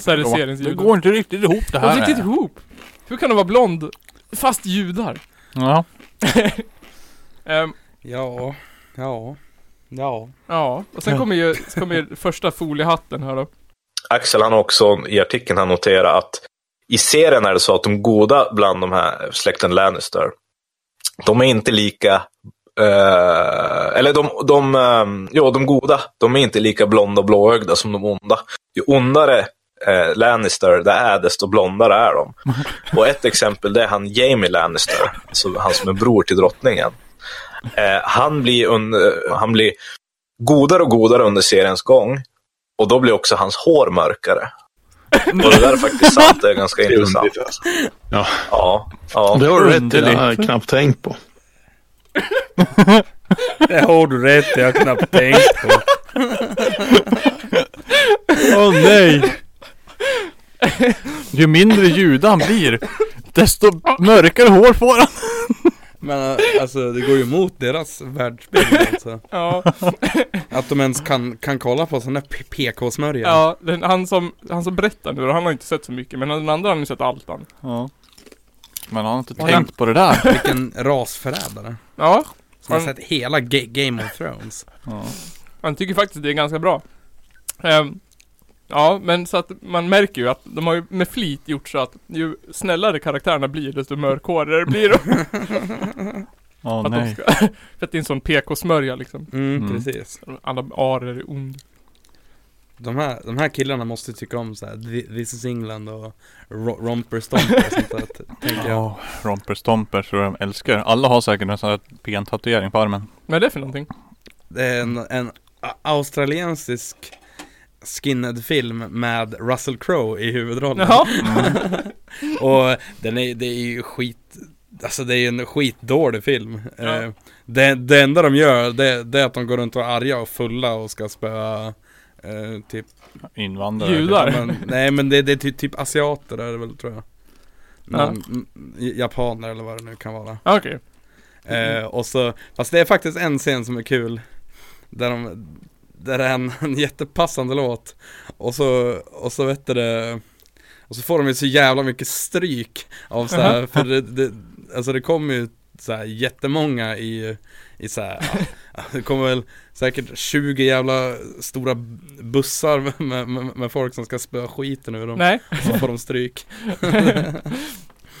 så är det Det, seriens judar. går inte riktigt ihop det de här. sitter inte ihop! Hur kan de vara blond, fast judar? Ja. Ehm, Ja, ja, ja. ja, och sen kommer ju, så kommer ju första foliehatten här då. Axel han har också i artikeln han noterat att i serien är det så att de goda bland de här släkten Lannister, de är inte lika eh, eller de, de, eh, ja, de goda, de är inte lika blonda och blåögda som de onda. Ju ondare eh, Lannister det är, desto blondare är de. Och ett exempel det är han Jamie Lannister, alltså han som är bror till drottningen. Eh, han, blir under, han blir godare och godare under seriens gång. Och då blir också hans hår mörkare. Och det där är faktiskt sant, det är ganska Det är intressant. underligt, alltså. Ja, ja. Det har du rätt i. Det Underligt. har jag knappt tänkt på. Det har du rätt jag har knappt tänkt på. Åh nej! Ju mindre jude han blir, desto mörkare hår får han. Men eh, alltså det går ju emot deras världsbild alltså. Ja, Att de ens kan, kan kolla på sådana där PK-smörjor. ja den, han, som, han som berättar nu då, han har inte sett så mycket, men den andra har ju sett allt han. Ja. Men han har inte Och tänkt på det där. Vilken rasförrädare. Ja, Som har Mm. sett hela Ga- Game of Thrones. Ja. Han tycker faktiskt det är ganska bra. Ehm, ja, men så att man märker ju att de har ju med flit gjort så att ju snällare karaktärerna blir desto mörkhårigare blir de. Åh, att de nej. ska, för att det är en sån PK-smörja liksom. Mm, Mm. precis. Alla arier är ond. De här, de här killarna måste tycka om så här, "Thi- This is England och Ro- Romper Stomper och sånt där, t- tänker jag. Ja, romper stomper tror jag de älskar. Alla har säkert en sån här bentatuering på armen. Vad är det för någonting? Det är en, en a- australiensisk skinhead-film med Russell Crowe i huvudrollen. Jaha! Och den är, det är ju skit Alltså det är ju en skitdålig film Ja. eh, det, det enda de gör det, det är att de går runt och är arga och fulla och ska spöa eh, typ, Invandrare. Judar. ja, men, Nej men det, det är typ, typ asiater är det väl tror jag men, Ja. mm, j- Japaner eller vad det nu kan vara Ja, Okej. eh, Och så, fast det är faktiskt en scen som är kul Där de Där det är en, en jättepassande låt Och så, och så vet du det Och så får de ju så jävla mycket stryk Av så här, för det, det Alltså det kommer ju så här jättemånga i i så här, ja, det kommer väl säkert 20 jävla stora bussar med, med, med folk som ska spöa skiten ur dem. Nej. Och så får de stryk.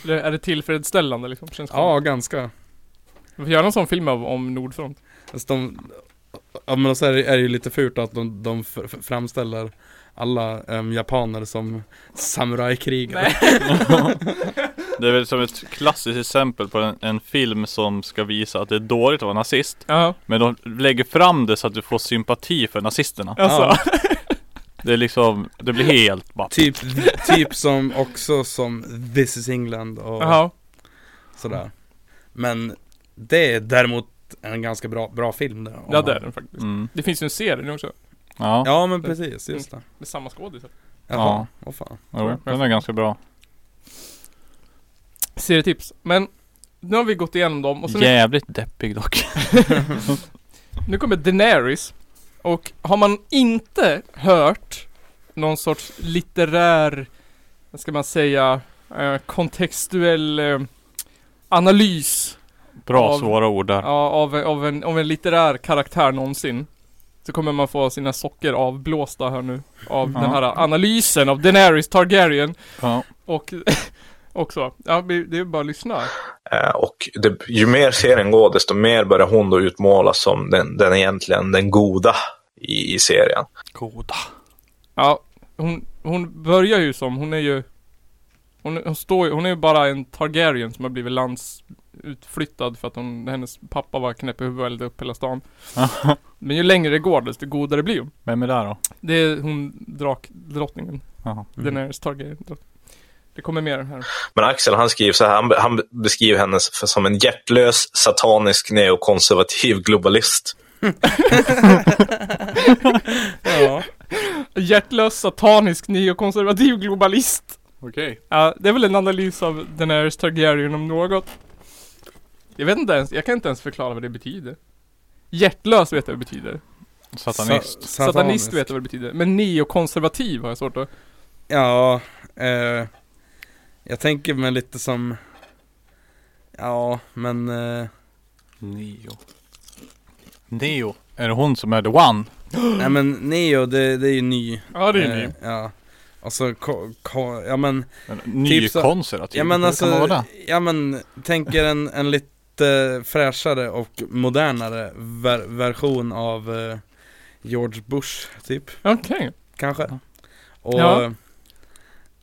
Eller är det tillfredsställande liksom? Känns Ja, ganska. Vi får göra en sån film av, om Nordfront. Alltså de, ja men och så är det, är det ju lite fult att de, de f- f- framställer alla um, japaner som samurajkrigare. Nej. Det är väl som ett klassiskt exempel på en, en film som ska visa att det är dåligt att vara nazist. Ja, Men de lägger fram det så att du får sympati för nazisterna. alltså. Det är liksom, det blir helt bara Typ, typ som också som This is England och Jaha. sådär. Men det är däremot en ganska bra, bra film där. Ja, det är den faktiskt. mm. Det finns ju en serie nu också. Ja, ja. Ja men precis, just det. Med samma skådisar. Jaha, Mm. Ja. vad fan. Jo, den är ganska bra. Serietips. Men nu har vi gått igenom dem och så nu Jävligt deppig dock. Nu kommer Daenerys. Och har man inte hört någon sorts litterär, vad ska man säga, eh, kontextuell eh, analys Bra Av- svåra ord där. ja, av, av, en, av en litterär karaktär någonsin. Så kommer man få sina socker avblåsta här nu. Av Ja. den här analysen av Daenerys Targaryen. Ja. Och, och så. Ja, vi- det är bara att lyssna. Eh, Och det, ju mer serien går, desto mer börjar hon då utmålas som den, den egentligen den goda i, i serien. Goda. Ja, hon, hon börjar ju som, hon är ju hon, hon står ju, hon är ju bara en Targaryen som har blivit landsutflyttad för att hon, hennes pappa var knäpp i huvudet och eldade upp hela stan. Men ju längre det går desto godare blir hon. Vem är det då? Det är hon drakdrottningen. Jaha. Den är Targaryen. drott- Det kommer mer här. Men Axel han skriver så här, han, be- han be- beskriver henne s- för- som en hjärtlös, satanisk, neokonservativ globalist. Ja. Hjärtlös, satanisk, neokonservativ globalist. Okej. Ja, det är väl en analys av Daenerys Targaryen om något. Jag vet inte ens, jag kan inte ens förklara vad det betyder. Hjärtlös vet jag vad det betyder. Satanist. Sa- Satanist, vet jag vad det betyder. Men neokonservativ har jag svårt att... Ja, eh, jag tänker mig lite som, ja men, eh, Neo. Neo. Är det hon som är the one? nej men Neo det, det är ju ny. Ja, det är ju typ. eh, Ja. Och så, ko, ko, ja men, En Typ så- Nykonservativ? ja men Hur kan man vara alltså, det? ja men, tänker en, en lite fräschare och modernare ver, version av eh, George Bush typ. Eh, Okej. Kanske. Ja. Och, Ja.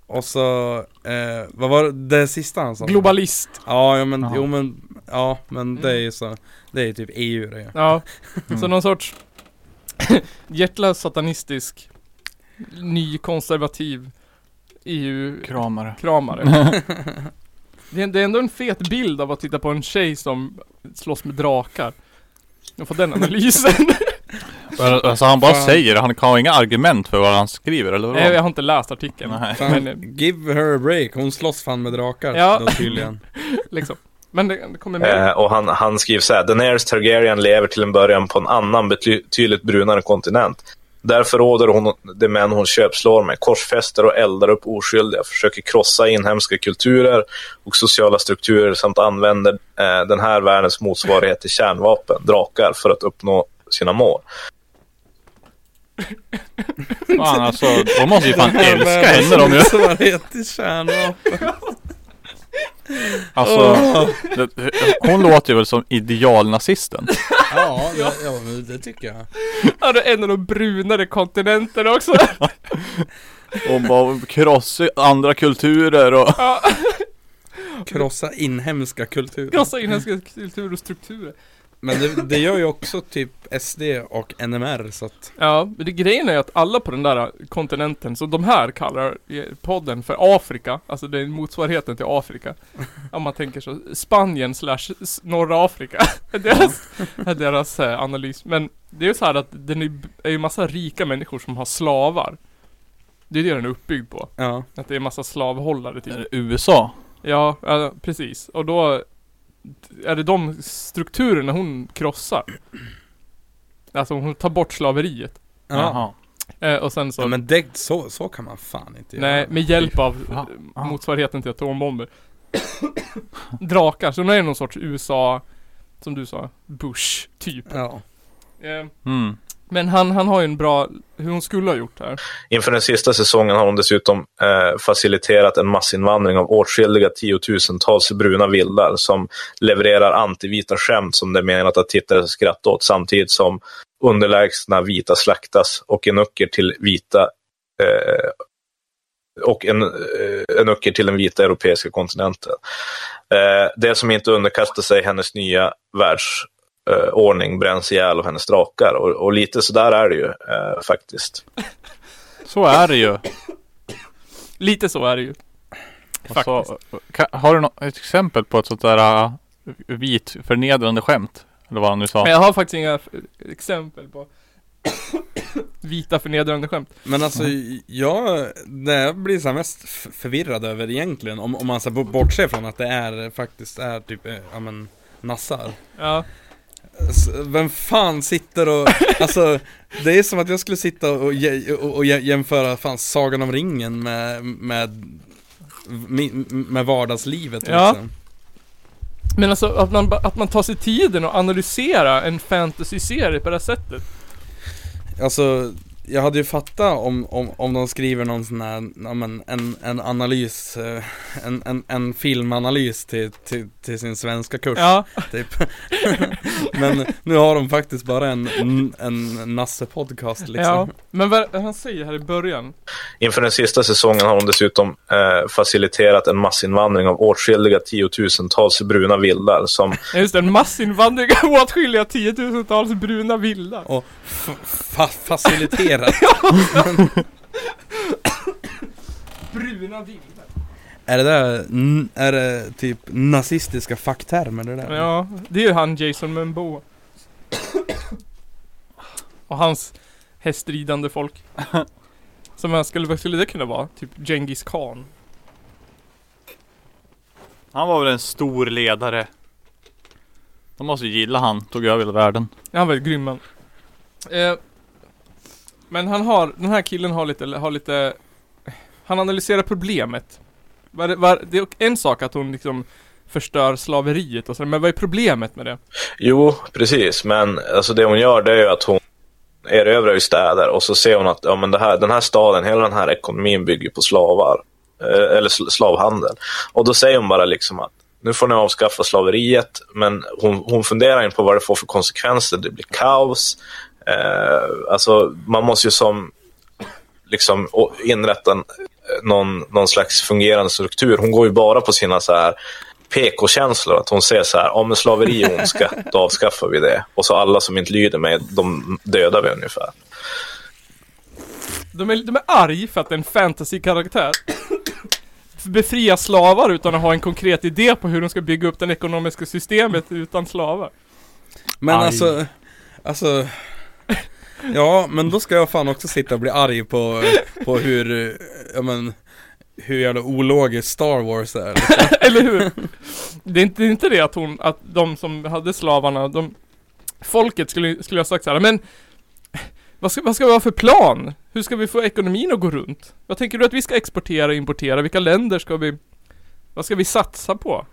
och så, eh, vad var det, det sista han sa? Globalist. Ja, ja men, Jaha. jo men, ja men det är ju så, det är ju typ EU det. Ja. Mm. Så någon sorts hjärtlös satanistisk nykonservativ E EU-kramare. Kramare. det, är, det är ändå en fet bild av att titta på en tjej som slåss med drakar. Och få den analysen. Alltså han bara Fan. säger det, han kan ha inga argument för vad han skriver eller Nej, jag vad? har inte läst artikeln. Nej. Fan, Men, eh, give her a break, hon slåss fan med drakar Ja. då tydligen. liksom. Men det, det kommer mer. Eh, och han, han skriver så här, Daenerys Targaryen lever till en början på en annan bety- betydligt brunare kontinent. Därför råder hon de män hon köpslår med, korsfäster och eldar upp oskyldiga, försöker krossa inhemska kulturer och sociala strukturer samt använder eh, den här världens motsvarighet till kärnvapen, drakar, för att uppnå sina mål. Fan alltså, de måste ju fan älska Men- henne de ju. Motsvarighet till kärnvapen. Alltså, det, hon låter ju väl som idealnazisten. Ja, det, ja, men det tycker jag. Ja, det är en av de brunare kontinenterna också. Hon bara krossar andra kulturer och... Ja, Krossa inhemska kulturer. krossa inhemska kulturer och strukturer. Men det, det gör ju också typ SD och NMR så att Ja, men det, grejen är att alla på den där kontinenten, som de här kallar i podden för Afrika, alltså det är motsvarigheten till Afrika. Om man tänker så, Spanien slash s- norra Afrika, är deras, är deras eh, analys. Men det är ju så här att det är- är ju massa rika människor som har slavar. Det är det den är uppbyggd på. ja. Att det är massa slavhållare typ. USA. Ja, ja, precis. Och då är det de strukturerna hon krossar. Alltså hon tar bort slaveriet. Ja. Jaha. Eh, och sen så, ja men det, så, så kan man fan inte nej, göra. med hjälp av Ja, ja. eh, motsvarigheten till atombomber. Drakar, så hon är någon sorts USA, som du sa, Bush, typ. Ja. Eh, Mm. men han, han har ju en bra, hur hon skulle ha gjort här. Inför den sista säsongen har hon dessutom eh, faciliterat en massinvandring av åtskilliga tiotusentals bruna vildar som levererar antivita skämt som det är menat att tittare ska skratta åt samtidigt som underlägsna vita slaktas och enucker till vita eh, och en, eh, enucker till den vita europeiska kontinenten. Eh, det som inte underkastar sig hennes nya världsordning eh, ordning bränns ihjäl av hennes drakar och, och lite sådär är det ju eh, faktiskt. Så är det ju. Lite så är det ju. Alltså, ka- har du något ett exempel på ett sånt där äh, vit förnedrande skämt? Eller vad han nu Men sa. jag har faktiskt inga f- exempel på vita förnedrande skämt. Men alltså jag, det jag blir så här mest f- förvirrad över egentligen om, om man så här b- bortser från att det är faktiskt är typ, eh, ja men nassar. Ja. S- Vem fan sitter och, alltså det är som att jag skulle sitta och, jä- och, och jä- jämföra fan Sagan om ringen med, med, mi- med vardagslivet Ja. liksom. Men alltså att man, ba- att man tar sig tiden att analysera en fantasy-serie på det här sättet. Alltså, jag hade ju fattat om, om, om de skriver någon sån här, ja, men en, en analys, eh, en, en, en filmanalys till, till, till sin svenska kurs Ja, typ. men nu har de faktiskt bara en, en, en nasse-podcast ja. liksom. Men vad vad han säger här i början. Inför den sista säsongen har hon dessutom eh, faciliterat en massinvandring av åtskilliga tiotusentals bruna vildar som Ja, Just det, en massinvandring av åtskilliga tiotusentals bruna vildar. Och f- fa- faciliterat. Bruna vildar? är det där, n- är det typ nazistiska facktermer det där? Ja, det är ju han Jason Momoa. Och hans hästridande folk. Som jag skulle, vad skulle det kunna vara? Typ Genghis Khan. Han var väl en stor ledare. De måste ju gilla han. Tog över hela världen. Ja, han var ju grym man. Eh, men han har, den här killen har lite, har lite Han analyserar problemet. Var, var, det är en sak att hon liksom förstör slaveriet och sådär, men vad är problemet med det? Jo, precis. Men alltså, det hon gör det är ju att hon erövrar ju städer och så ser hon att ja, men det här, den här staden, hela den här ekonomin bygger på slavar. Eh, eller sl- slavhandel. Och då säger hon bara liksom att nu får ni avskaffa slaveriet, men hon, hon funderar ju på vad det får för konsekvenser. Det blir kaos. Eh, alltså, man måste ju som liksom å- inrätta en, eh, någon, någon slags fungerande struktur. Hon går ju bara på sina så här PK-känslor. Att hon säger så här, om slaveri är ondska, då avskaffar vi det. Och så alla som inte lyder mig, de dödar vi ungefär. De är, de är arg för att det är en fantasy-karaktär. Befria slavar utan att ha en konkret idé på hur de ska bygga upp det ekonomiska systemet utan slavar. Men Arg. alltså, alltså Ja, men då ska jag fan också sitta och bli arg på, på hur, eh, ja men Hur jävla ologiskt Star Wars är Eller hur? Det är inte, det är inte det att hon, att de som hade slavarna, de Folket skulle, skulle ha sagt så här, men Vad ska, vad ska vi ha för plan? Hur ska vi få ekonomin att gå runt? Vad tänker du att vi ska exportera och importera? Vilka länder ska vi... Vad ska vi satsa på?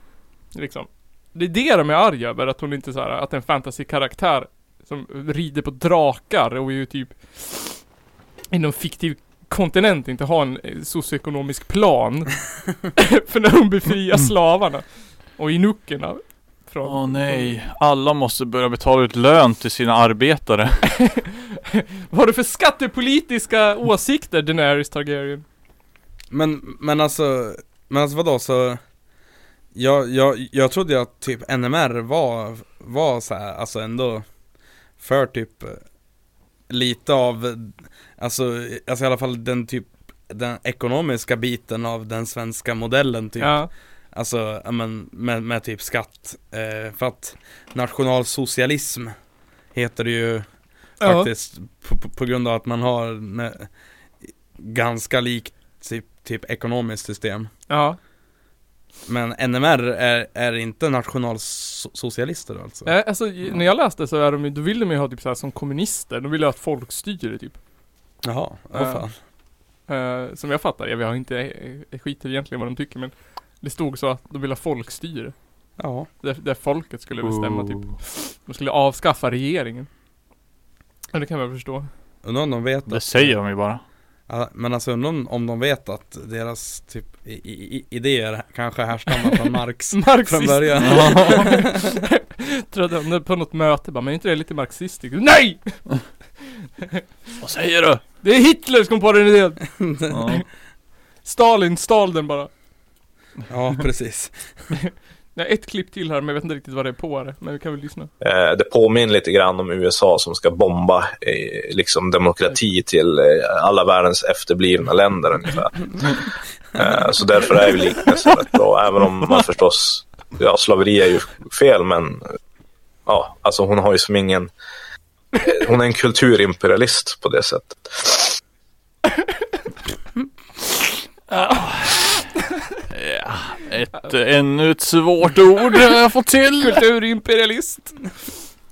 Liksom. Det är det de är arga över, att hon inte så här, att en fantasy-karaktär som rider på drakar och är ju typ i någon fiktiv kontinent inte har en eh, socioekonomisk plan. för när hon befriar slavarna och inukerna från... Åh nej, alla måste börja betala ut lön till sina arbetare. Vad har du för skattepolitiska åsikter, Daenerys Targaryen? Men, men alltså, men alltså vadå så jag, jag, jag trodde ju att typ NMR var, var så här, alltså ändå för typ eh, lite av, eh, alltså, alltså i alla fall den typ den ekonomiska biten av den svenska modellen typ Ja. Alltså, ja, men med, med typ skatt eh, För att nationalsocialism heter det ju Ja. faktiskt på, på, på grund av att man har ne, ganska likt typ, typ ekonomiskt system. ja. Men NMR är, är inte nationalsocialister alltså? Nej, alltså j- när jag läste så är de ju, då vill de ju ha typ så här som kommunister, de vill ju ha ett folkstyre typ. Jaha, vad Ja. fan. Eh, som jag fattar jag har inte, jag skiter egentligen vad de tycker men det stod så att de vill ha folkstyre. Ja. Där, där folket skulle bestämma Oh. typ. Ooh, De skulle avskaffa regeringen. Ja, det kan jag väl förstå. Undrar om de vet Det att, säger de ju bara. ja, Men alltså undrar om de vet att deras typ i, i, i- idéer kanske härstammar från Marx från Marxist! början. Tror jag de- på något möte bara, men är inte det lite marxistiskt? Nej! Vad säger du? Det är Hitler som kom på den idén! Ja. Stalin stal den bara. ja, precis. Jag har ett klipp till här men jag vet inte riktigt vad det är på det, men vi kan väl lyssna. Eh, det påminner lite grann om USA som ska bomba eh, liksom demokrati till eh, alla världens efterblivna länder ungefär. Eh, så därför är ju liknelsen rätt bra, även om man förstås, ja slaveri är ju fel, men eh, ja, alltså hon har ju som ingen, eh, hon är en kulturimperialist på det sättet. Ett, eh, ännu ett svårt ord har jag fått till. Kulturimperialist!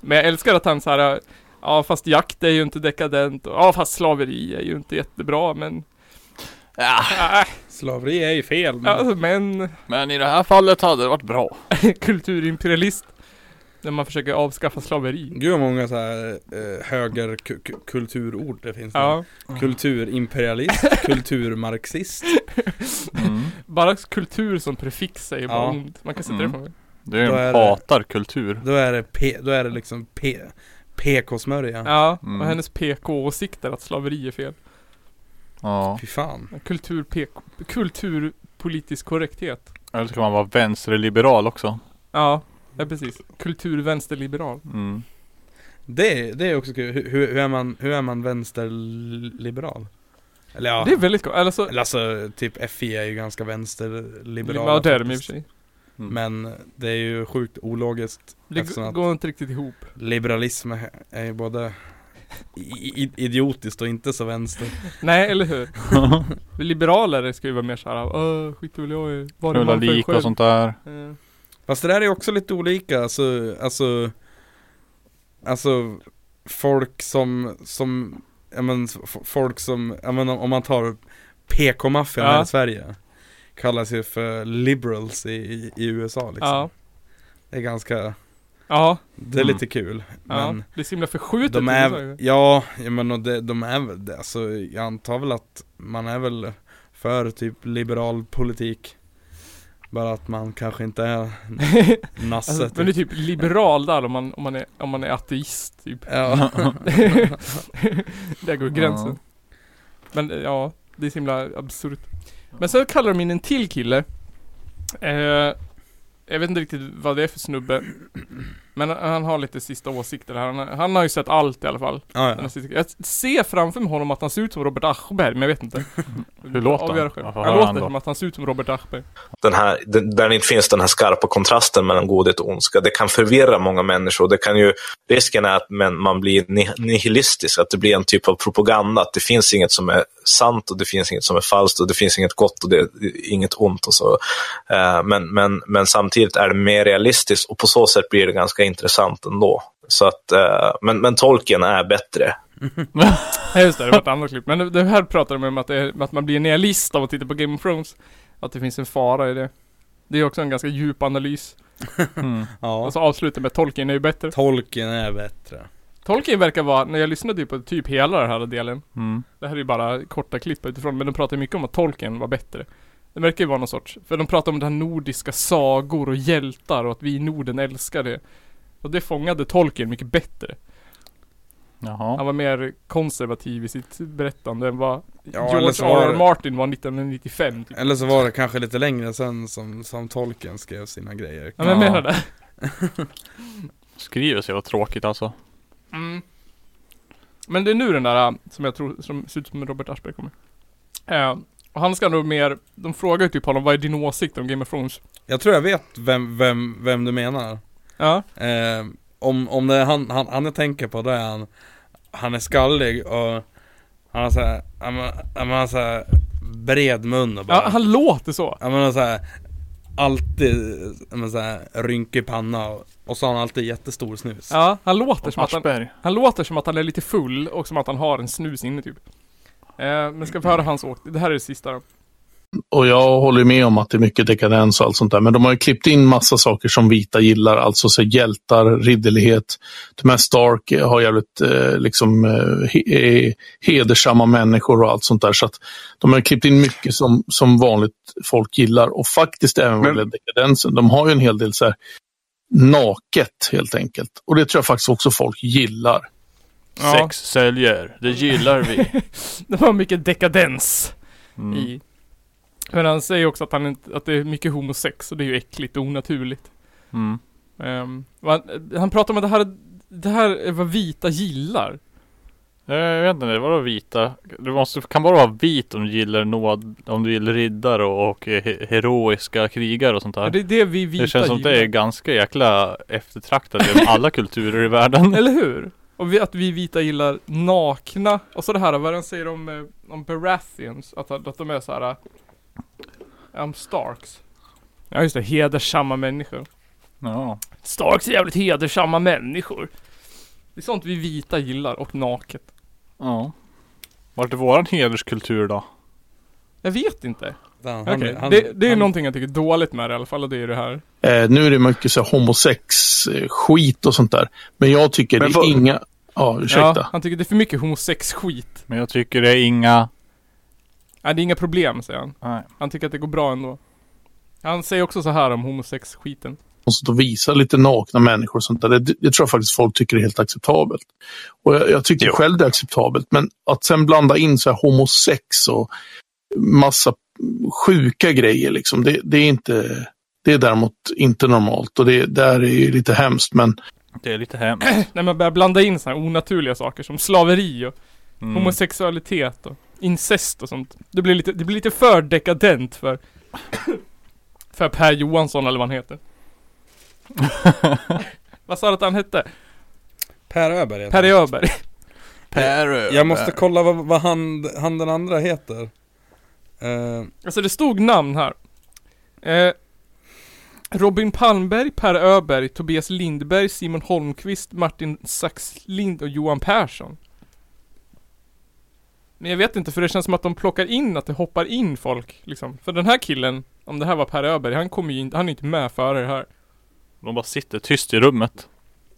Men jag älskar att han så här. ja fast jakt är ju inte dekadent, och ja fast slaveri är ju inte jättebra men, Ja, äh, Slaveri är ju fel men... alltså, men, men i det här fallet hade det varit bra. kulturimperialist. När man försöker avskaffa slaveri. Gud vad många så här eh, högerkulturord det finns. nu. Ja, Kulturimperialist, kulturmarxist Mm. bara kultur som prefix säger bara Ja. ont. Man kan sätta det Mm. på mig. Det är Då en är det- hatarkultur. Då är det, P, då är det liksom P, PK-smörja Ja, Mm. och hennes PK-åsikter att slaveri är fel. Ja. Fy fan Kultur, PK, kulturpolitisk korrekthet. Eller ska man vara vänsterliberal också? Ja, ja precis. Kulturvänsterliberal. Mm. Det, det är också kul, hur, hur, är, man, hur är man vänsterliberal? Eller ja, Det är väldigt gott. Eller så, eller alltså typ FI är ju ganska vänsterliberala ja det är de i och faktiskt. för sig. Men det är ju sjukt ologiskt Det Eftersom g- att- går inte riktigt ihop. Liberalism är- är ju både i- i- idiotiskt och inte så vänster Nej, eller hur? Liberaler ska ju vara mer såhär, åh skit väl jag i vad det Rulla man för lik själv. och sånt där. Eh, Fast det där är också lite olika, alltså, alltså, alltså folk som, som, ja men f- folk som, ja men om- om man tar PK-maffian Ja. här i Sverige Kallas ju för liberals i, i, i USA liksom Ja, Det är ganska, ja, det är Mm. lite kul ja. Men Det är så himla förskjutet. de i USA är, ju. ja, ja men och det, de är väl, det, alltså jag antar väl att man är väl för typ liberal politik Bara att man kanske inte är nasse alltså, typ. men det är typ liberal där om man, om man, är, om man är ateist typ. Ja. Där går gränsen. Men eh, ja, det är så himla absurt. Men sen kallar de in en till kille. Eh, jag vet inte riktigt vad det är för snubbe. Men han- han har lite sista åsikter här. Han, han har ju sett allt i alla fall. Ja, Den ja. här sista- Jag ser framför mig honom att han ser ut som Robert Aschberg, men jag vet inte. Hur låter han? Avgör själv. Vad får Han han låter då? som att han ser ut som Robert Aschberg. den här, den, där det inte finns den här skarpa kontrasten mellan godhet och ondska. Det kan förvirra många människor. Det kan ju, risken är att men, man blir ni- nihilistisk, att det blir en typ av propaganda. Att det finns inget som är sant och det finns inget som är falskt och det finns inget gott och det, inget ont. Och så. Eh, men, men, men samtidigt är det mer realistiskt och på så sätt blir det ganska intressant ändå. Så att, eh, men, men tolken är bättre Nej just det, det var ett annat klipp. Men det, det här pratade de om att, det, är- att man blir realist av att titta på Game of Thrones. Att det finns en fara i det. Det är också en ganska djup analys. Mm. Ja. Och så avslutar med Tolkien är ju bättre. Tolken är bättre. Tolkien verkar vara, när jag lyssnade typ på typ hela den här delen. Mm. Det här är ju bara korta klipp utifrån, men de pratar ju mycket om att Tolkien var bättre. Det verkar ju vara någon sorts, för de pratar om det här nordiska sagor och hjältar och att vi i Norden älskar det. Och det fångade Tolkien mycket bättre. Han Jaha. var mer konservativ i sitt berättande än vad Ja, eller så George var R.R. det, Martin var 1995 typ. eller så var det kanske lite längre sen som, som Tolken skrev sina grejer. Ja men jag Ja. menar det. Skriver sig vad tråkigt alltså. Mm. Men det är nu den där äh, som jag tror, som ser ut som Robert Aschberg kommer. Eh, och han ska nog mer, de frågar ju typ honom vad är din åsikt om Game of Thrones? Jag tror jag vet vem, vem, vem du menar. Ja. Eh, om, om det är han, han, han jag tänker på, då är han, han är skallig och han har såhär, han, har- han har såhär bred mun och bara. ja, han låter så. Ja men han har så här, alltid ja, men så här, rynkig panna och, och så har han alltid jättestor snus. Ja, han låter som att han, Aschberg. han låter som att han är lite full och som att han har en snus inne typ. Eh, men ska vi höra hans åk. Det här är det sista då. Och jag håller med om att det är mycket dekadens och allt sånt där. Men de har ju klippt in massa saker som vita gillar, alltså så hjältar, ridderlighet. De här Stark har jävligt eh, liksom, eh, he- eh, hedersamma människor och allt sånt där. Så att de har klippt in mycket som, som vanligt folk gillar och faktiskt även vad Men- gäller dekadensen. De har ju en hel del så här naket helt enkelt. Och det tror jag faktiskt också folk gillar. Ja. Sex säljer. Det gillar vi. Det var mycket dekadens Mm. i. Men han säger också att, han inte, att det är mycket homosex och det är ju äckligt och onaturligt. Mm. Ehm, och han, han pratar om att det här, det här är vad vita gillar. Nej, Eh, Jag vet inte, det var då vita. Du måste, kan bara vara vit om du gillar nåd, om du gillar riddare och, och he, heroiska krigare och sånt Ja. där. Det är det vi vita Det känns som att gillar. det är ganska jäkla eftertraktat i alla kulturer i världen. Eller hur? Och vi, att vi vita gillar nakna. Och så det här, vad han säger om, eh, om Baratheons, att, att de är så här. eh, Om Starks. Ja just det, hedersamma människor. Ja. Starks är jävligt hedersamma människor. Det är sånt vi vita gillar, och naket. ja. Vart är våran hederskultur då? Jag vet inte. Han, han- Okej, han- det, det är han- någonting jag tycker är dåligt med det i alla fall, och det är det här. Eh, nu är det mycket så här homosex-skit och sånt där. Men jag tycker Men det vad- är inga... Ja, ursäkta. Ja, han tycker det är för mycket homosex-skit. Men jag tycker det är inga... Nej, det är inga problem, säger han. Nej. Han tycker att det går bra ändå. Han säger också så här om homosex-skiten. och så att visa lite nakna människor och sånt där. Det, det tror jag faktiskt folk tycker är helt acceptabelt. Och jag, jag tycker Jo. själv det är acceptabelt, men att sen blanda in så här homosex och massa sjuka grejer, liksom, det, det är inte... Det är däremot inte normalt och det där är ju lite hemskt, men Det är lite hemskt. När man börjar blanda in sådana här onaturliga saker som slaveri och Mm. homosexualitet och incest och sånt. Det blir lite, det blir lite för dekadent för För Per Johansson eller vad han heter. vad sa du att han hette? Per Öberg heter Per han. Öberg. Per Jag måste kolla vad, vad han, han den andra heter. Eh, Alltså det stod namn här. Eh, Robin Palmberg, Per Öberg, Tobias Lindberg, Simon Holmqvist, Martin Saxlind och Johan Persson. Men jag vet inte, för det känns som att de plockar in, att det hoppar in folk liksom. För den här killen, om det här var Per Öberg, han kommer ju inte, han är inte med före det här. De bara sitter tyst i rummet.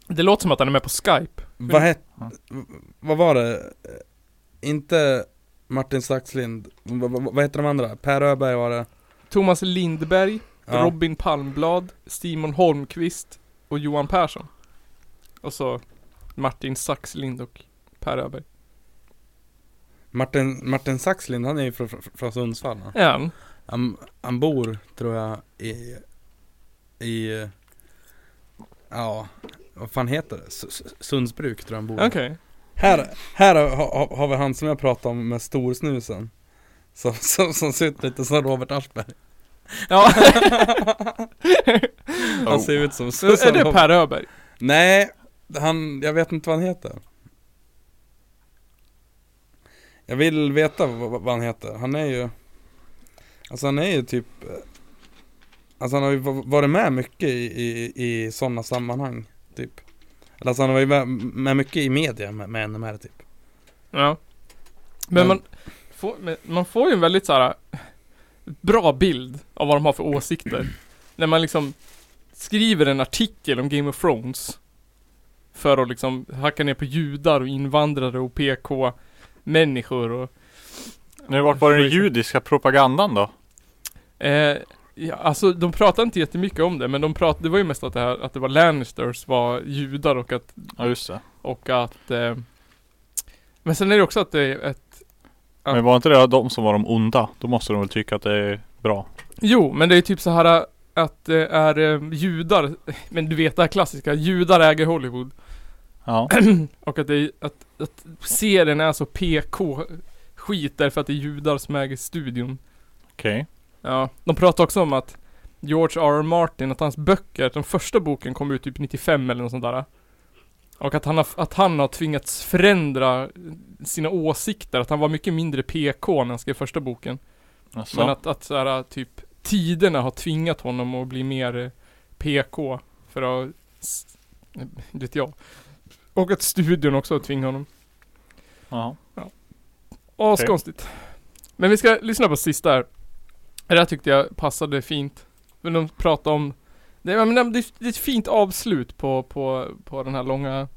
Det låter som att han är med på Skype. vad hette, Ja. vad var det? Eh, Inte Martin Saxlind, vad, vad, vad heter de andra? Per Öberg var det. Thomas Lindberg, Ja. Robin Palmblad, Simon Holmqvist och Johan Persson. Och så Martin Saxlind och Per Öberg. Martin, Martin Saxlind, han är ju från, från, från Sundsvall. Han. Ja. Han, han bor, tror jag, i, i, ja, vad fan heter det? S- S- Sundsbruk tror jag han bor. i. Okej. Här, här har, har, har vi han som jag pratade om med storsnusen. Som, som, som ser ut lite som Robert Aschberg. Ja, Han ser ut som... så Oh. är det som- Per Öberg? Nej, han, jag vet inte vad han heter. Jag vill veta vad, vad han heter. Han är ju, alltså han är ju typ, eh, alltså han har ju va- varit med mycket i, i, i sådana sammanhang, typ. Eller alltså han har ju med, med mycket i media med, med NMR, typ. Ja. Men Men- man får, men man får ju en väldigt så här bra bild av vad de har för åsikter. När man liksom skriver en artikel om Game of Thrones. För att liksom hacka ner på judar och invandrare och PK-människor och Nu vart var den judiska propagandan då? Eh, ja, alltså de pratade inte jättemycket om det, men de pratade, det var ju mest att det här, att det var Lannisters var judar och att, Ja just det. och att eh, Men sen är det också att det är ett, Ja. Men var inte det de som var de onda? Då måste de väl tycka att det är bra. jo men det är typ så här eh, att det är eh, judar, men du vet det här klassiska, judar äger Hollywood. Ja. Och att det är, att, att serien är så PK skit därför att det är judar som äger studion. Okej. Ja, de pratar också om att George R. R. Martin, att hans böcker, den första boken kom ut typ 95 eller något sånt där. Och att han har, att han har tvingats förändra sina åsikter, att han var mycket mindre PK när han skrev första boken. Jaså. Men att, att så här, typ tiderna har tvingat honom att bli mer eh, PK för att, s- vet jag. Och att studion också har tvingat honom. Ja. Askonstigt. Men vi ska lyssna på sista här. Det här tyckte jag passade fint. Men de pratade om det, jag menar, det, det är ett fint avslut på, på, på den här långa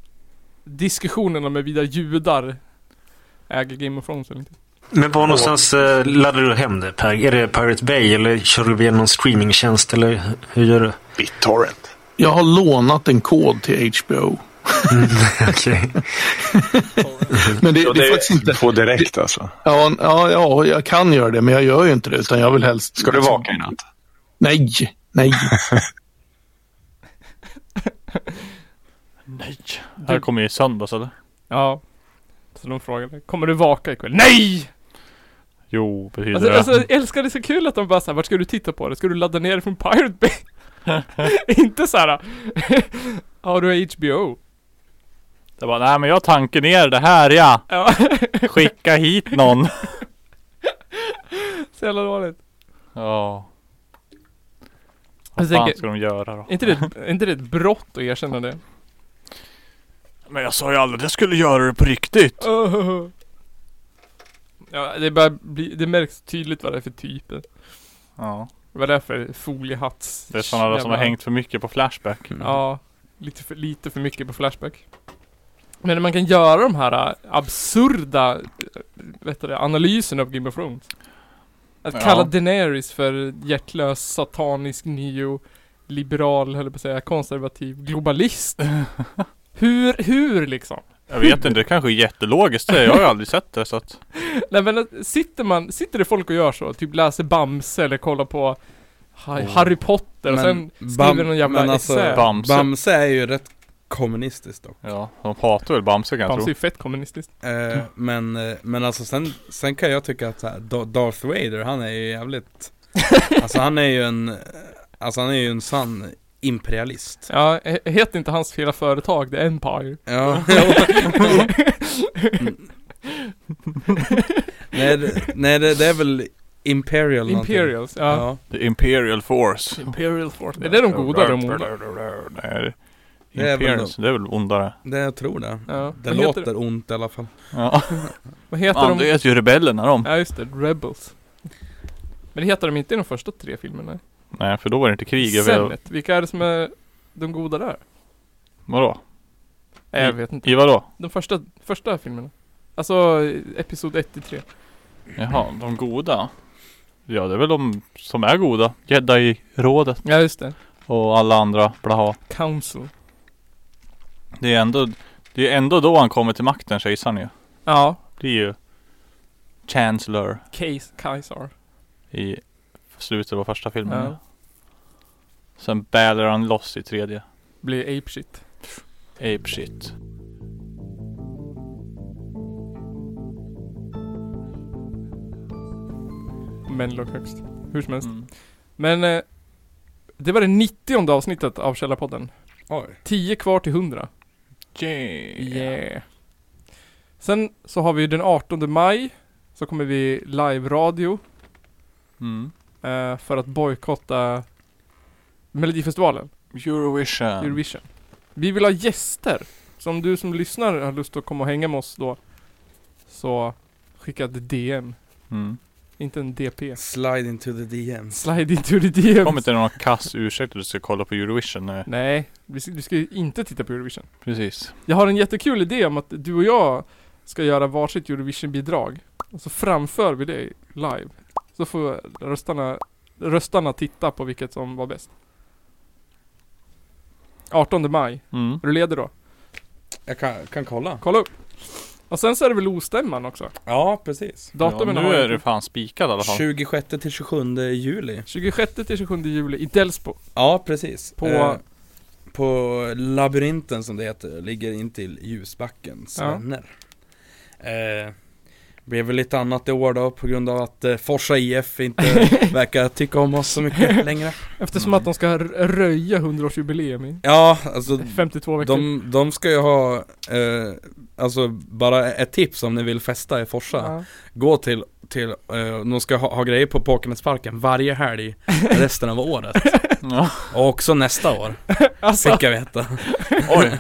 diskussionen om huruvida judar äger Game of Thrones eller inte. Men var någonstans eh, laddar du hem det Per? Är det Pirate Bay eller kör du via någon streamingtjänst eller hur gör du? BitTorrent. Jag har lånat en kod till HBO. Okej. Men det, Så det är Mm. det- faktiskt inte... På direkt alltså. Ja, ja, ja, jag kan göra det, men jag gör ju inte det. Utan jag vill helst... liksom- Ska du vaka i natt? Nej, nej. Nej. Det här kommer ju i söndags eller? Ja. Så de frågade, kommer du vaka ikväll? Nej! Jo, betyder Alltså, det. alltså jag älskar det så kul att de bara såhär, vart ska du titta på det? Ska du ladda ner det från Pirate Bay? inte såhär, ja du har HBO. Det var nej men jag tankar ner det här ja. Ja, Skicka hit någon. så jävla dåligt. Ja. Jag Vad fan tänker- ska de göra då? Är inte det, är inte det ett brott att erkänna det? Men jag sa ju aldrig att jag skulle göra det på riktigt. Ja, det, börjar bli, det märks tydligt vad det är för typer. Ja. Vad det är för foliehatts... Det är sådana där som har jävla- hängt för mycket på Flashback. Ja, lite för, lite för mycket på Flashback. Men när man kan göra de här äh, absurda äh, vet du, det, analyserna av Game of Thrones. Att Ja. kalla Daenerys för hjärtlös, satanisk, neo-liberal, höll jag på att säga, konservativ, globalist. hur, hur liksom? Jag vet inte, det kanske är jättelogiskt det. Jag har ju aldrig sett det så att. Nej men att- sitter man, sitter det folk och gör så? Typ läser Bamse eller kollar på Ha- Harry Potter och sen skriver någon jävla men alltså, essä. Bamse. Bamse. är ju rätt kommunistiskt dock. Ja, de hatar väl Bamse kan jag Bamse är tro. ju fett kommunistiskt. Eh, men, eh, men alltså sen, sen kan jag tycka att så här, Da- Darth Vader, han är ju jävligt Alltså han är ju en Alltså han är ju en sann imperialist Ja, he- heter inte hans hela företag The Empire? Mm. Ja Nej, det, nej det, det är väl Imperial någonting. Imperials, ja. Ja, The Imperial Force. Imperial Force. Är det de goda de onda? Nej. Det är väl Imperials, det är väl ondare. det jag tror det Ja. Det Vad heter låter det? ont i alla fall Ja, Vad heter Fan, de? det är ju rebellerna de. Ja just det, Rebels. Men det heter de inte i de första tre filmerna. Nej, för då var det inte krig. Jag vet, Sennet, vilka är det som är de goda där? vadå? Nej, jag vet inte. I vadå? De första, första filmerna. Alltså, eh, Episod 1 till 3. Jaha, de goda? Ja, det är väl de som är goda. Jedi-rådet Ja just det. och alla andra blaha. Council. Det är ändå, det är ändå då han kommer till makten, kejsaren ju. Ja. blir ju Chancellor Case, Kaisar. i slutet av första filmen. Ja. Sen bälar han loss i tredje. Blir apeshit. Ape shit. Men låg högst. Hur som helst. Mm. Men eh, det var det 90 avsnittet av Källarpodden. Oj 10 kvar till 100. Yeah. Yeah. Sen så har vi den 18 maj. Så kommer vi live-radio Mm. eh, för att bojkotta Melodifestivalen, Eurovision. Eurovision. Vi vill ha gäster. Så om du som lyssnar har lust att komma och hänga med oss då Så skicka ett DM. Mm. Inte en DP. Slide into the DMs. Slide into the DM. Kom inte någon kass ursäkt att du ska kolla på Eurovision. Nej. Nej, vi ska, vi ska ju inte titta på Eurovision. Precis. Jag har en jättekul idé om att du och jag ska göra varsitt Eurovision-bidrag. Och så framför vi det live. Så får röstarna, röstarna titta på vilket som var bäst. 18 maj. Mm. Är du ledig då? Jag kan, kan kolla. Kolla upp. Och sen så är det väl ostämman också? Ja, precis. Ja, Datumen nu har jag är det inte. fan spikad i alla fall. 26 till 27 juli. 26 till 27 juli i Delsbo. Ja, precis. Eh, På- på labyrinten som det heter, ligger in till Ljusbackens Ja. vänner. Eh, blev väl lite annat i år då på grund av att eh, Forsa IF inte verkar tycka om oss så mycket längre. Eftersom att de ska r- röja 100-årsjubileum i Ja, alltså 52 veckor. de, de ska ju ha, eh, alltså bara ett tips om ni vill festa i Forsa. Ja. Gå till, till eh, de ska ha, ha grejer på Påkenäsparken varje helg resten av året. Ja. Och också nästa år, Alltså, fick jag veta. Oj!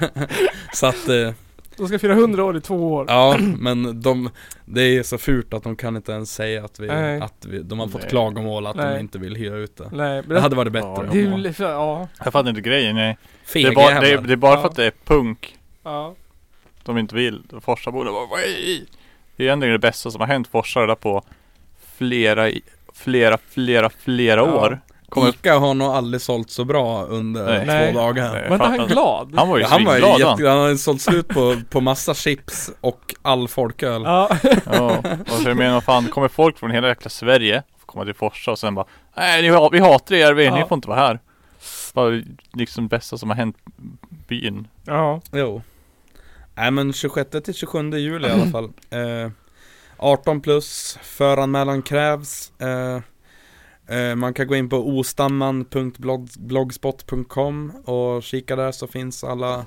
så att eh, de ska fira 100 år i två år. Ja, men de, det är så fult att de kan inte ens säga att, vi, Nej. att vi, de har fått Nej. klagomål att de Nej. inte vill hyra ut det. Nej, men Det hade varit bättre. Ja, om det är de var ju, ja, Jag fattar inte grejen. Nej. Det är fega bara, det är, jävlar. det är bara Ja. för att det är punk ja. de inte vill. Forsaborna bara "Oj!" Det är egentligen det bästa som har hänt Forsa där på flera, i- flera, flera, flera Ja. år. Kommer- Ica har nog aldrig sålt så bra under Nej. två Nej. dagar. Jag Var inte fattar. han glad? Han var ju Ja, han var ju svinglad han. jätte, han hade sålt slut på, på massa chips och all folköl. Ja, Ja, och så jag menar vad fan, kommer folk från hela jäkla Sverige får komma till Forsa och sen bara Nej ni, ha- vi hatar er, vi, ni Ja. får inte vara här. Bara liksom det bästa som har hänt byn. ja. Jo. Nej men 26 till 27 juli i alla fall. Eh, 18 plus, föranmälan krävs. Eh, eh, man kan gå in på ostamman.blogspot.com och kika där så finns alla,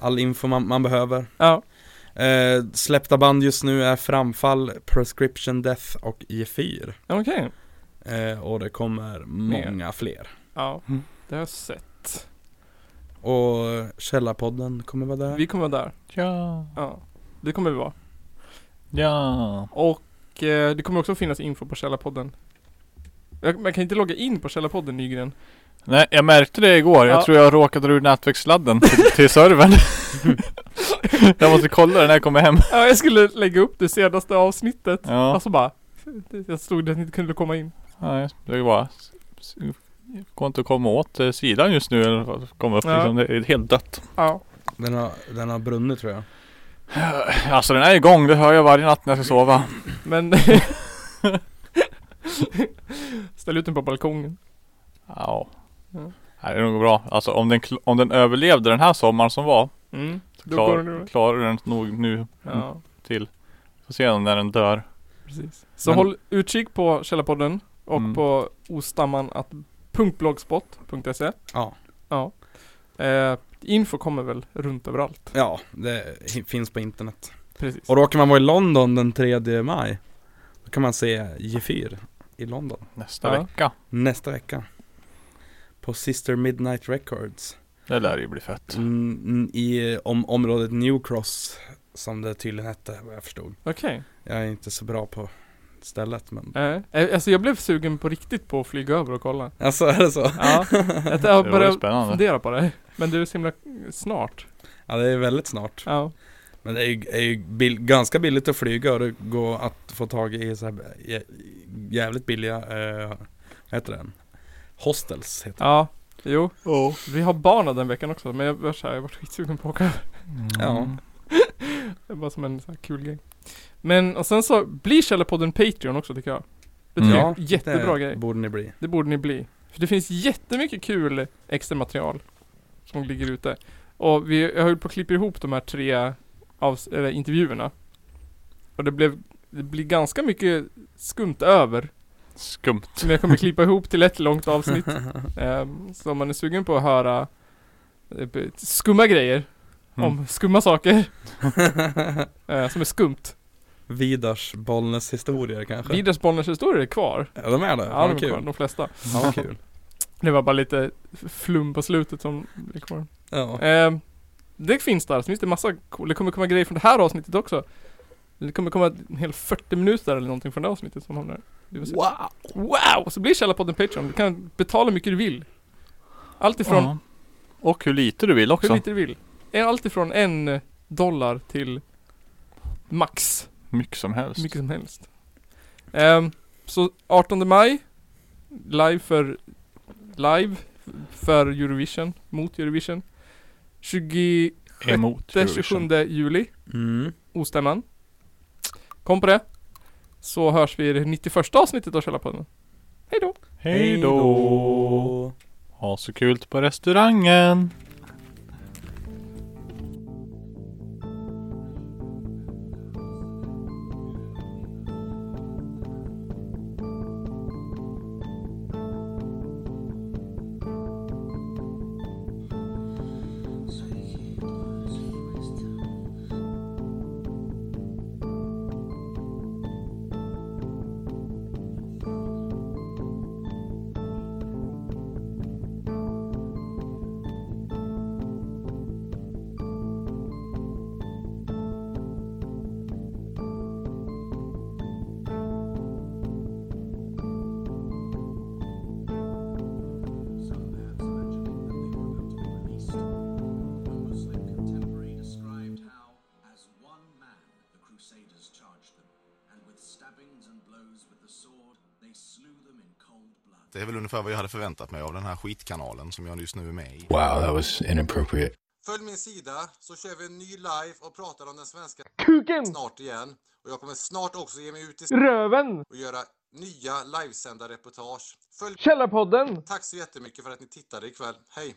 all info man, man behöver. ja. Eh, släppta band just nu är Framfall, Prescription Death och Gefyr. ja okej. Eh, och det kommer många fler. Ja, det har jag sett. Och Källarpodden kommer vara där. Vi kommer vara där. Ja, Ja, det kommer vi vara. ja. Och eh, det kommer också finnas info på Källarpodden. Jag, man kan inte logga in på Källarpodden Nygren. Nej, jag märkte det igår. Jag Ja. tror jag råkade dra ur nätverkssladden till, till servern. jag måste kolla den när jag kommer hem. Ja, jag skulle lägga upp det senaste avsnittet. Ja, Alltså bara, jag stod där att ni inte kunde komma in. nej, det var Går inte att komma åt eh, sidan just nu eller vad som kommer upp Ja. liksom. Det är helt dött. Ja, Den har, den har brunnit tror jag. Alltså den är igång, det hör jag varje natt när jag ska sova. men... Ställ ut den på balkongen. Ja. Ja. Nej, det är nog bra. Alltså om den, kl- om den överlevde den här sommaren som var. Mm, Så då klar, går den ur. klarar den nog nu Ja, till. Får se när den dör. precis. Så Men- håll utkik på Källarpodden och Mm. på ostamman.blogspot.se Ja. Ja. Eh, info kommer väl runt överallt. Ja, det hi- finns på internet. Precis. Och råkar man vara i London den 3 maj, då kan man se G4 i London Nästa Ja. vecka. nästa vecka. På Sister Midnight Records. Det lär ju bli fett. Mm, mm, I eh, om, området New Cross, som det tydligen hette vad jag förstod. Okej. Jag är inte så bra på stället men... Eh, eh, alltså jag blev sugen på riktigt på att flyga över och kolla. Alltså är det så? Ja. Jag Det har vore börjat spännande. fundera på det. Men det är så himla snart. Ja det är väldigt snart. Ja. Men det är ju, är ju bill- ganska billigt att flyga och det går att få tag i så här jä- jävligt billiga, eh, vad heter den? Hostels heter Ja. Jo. Vi har barna den veckan också. Men jag var så här, jag var skitsugen på att åka. Ja. Mm. Det var som en så här kul grej. Men och sen så blir Källarpodden Patreon också tycker jag. Det tycker Mm. jag är en jättebra det grej. borde ni bli. Det borde ni bli. För det finns jättemycket kul extra material som ligger ute. Och vi, jag höll på att klippa ihop de här tre avs- eller intervjuerna. Och det blev, det blir ganska mycket skumt över. Skumt. Som jag kommer klippa ihop till ett långt avsnitt. Ehm, så om man är sugen på att höra eh, b- skumma grejer Mm. om skumma saker eh, som är skumt. Vidars Bollnäs historier kanske? Vidars Bollnäs historier är kvar. ja, de är det? Ja, de är kul. kvar, de flesta. Ja, vad kul. Det var bara lite flum på slutet som blev kvar. Ehm, Ja. Eh, det finns där, så finns det massa cool, det kommer komma grejer från det här avsnittet också. Det kommer komma en hel 40 minuter eller någonting från det avsnittet som hamnar Wow! Wow! Så blir Källarpodden Patreon. Du kan betala hur mycket du vill. Allt ifrån Ja. Och hur lite du vill också. hur lite du vill. Eh, Allt ifrån en dollar till max Mycket som helst. mycket som helst. Ehm, så 18 maj, live för live för Eurovision, mot Eurovision. 26 Emot Eurovision. 27 juli, Mm. Ostämman. Kom på det. Så hörs vi i det 91 avsnittet av Källarpodden. Hej då! Hej då. Ha så kul på restaurangen. Muslim contemporary described how, as one man, the Crusaders charged them, and with stabbings and blows with the sword, they slew them in cold blood. Det är väl ungefär vad jag hade förväntat mig av den här skitkanalen som jag just nu är med i. Wow, that was inappropriate. Följ min sida så kör vi en ny live och pratar om den svenska Kuken! snart igen. Och jag kommer snart också ge mig ut i Röven! och göra nya livesända reportage. Följ... Källarpodden! Tack så jättemycket för att ni tittade ikväll. Hej!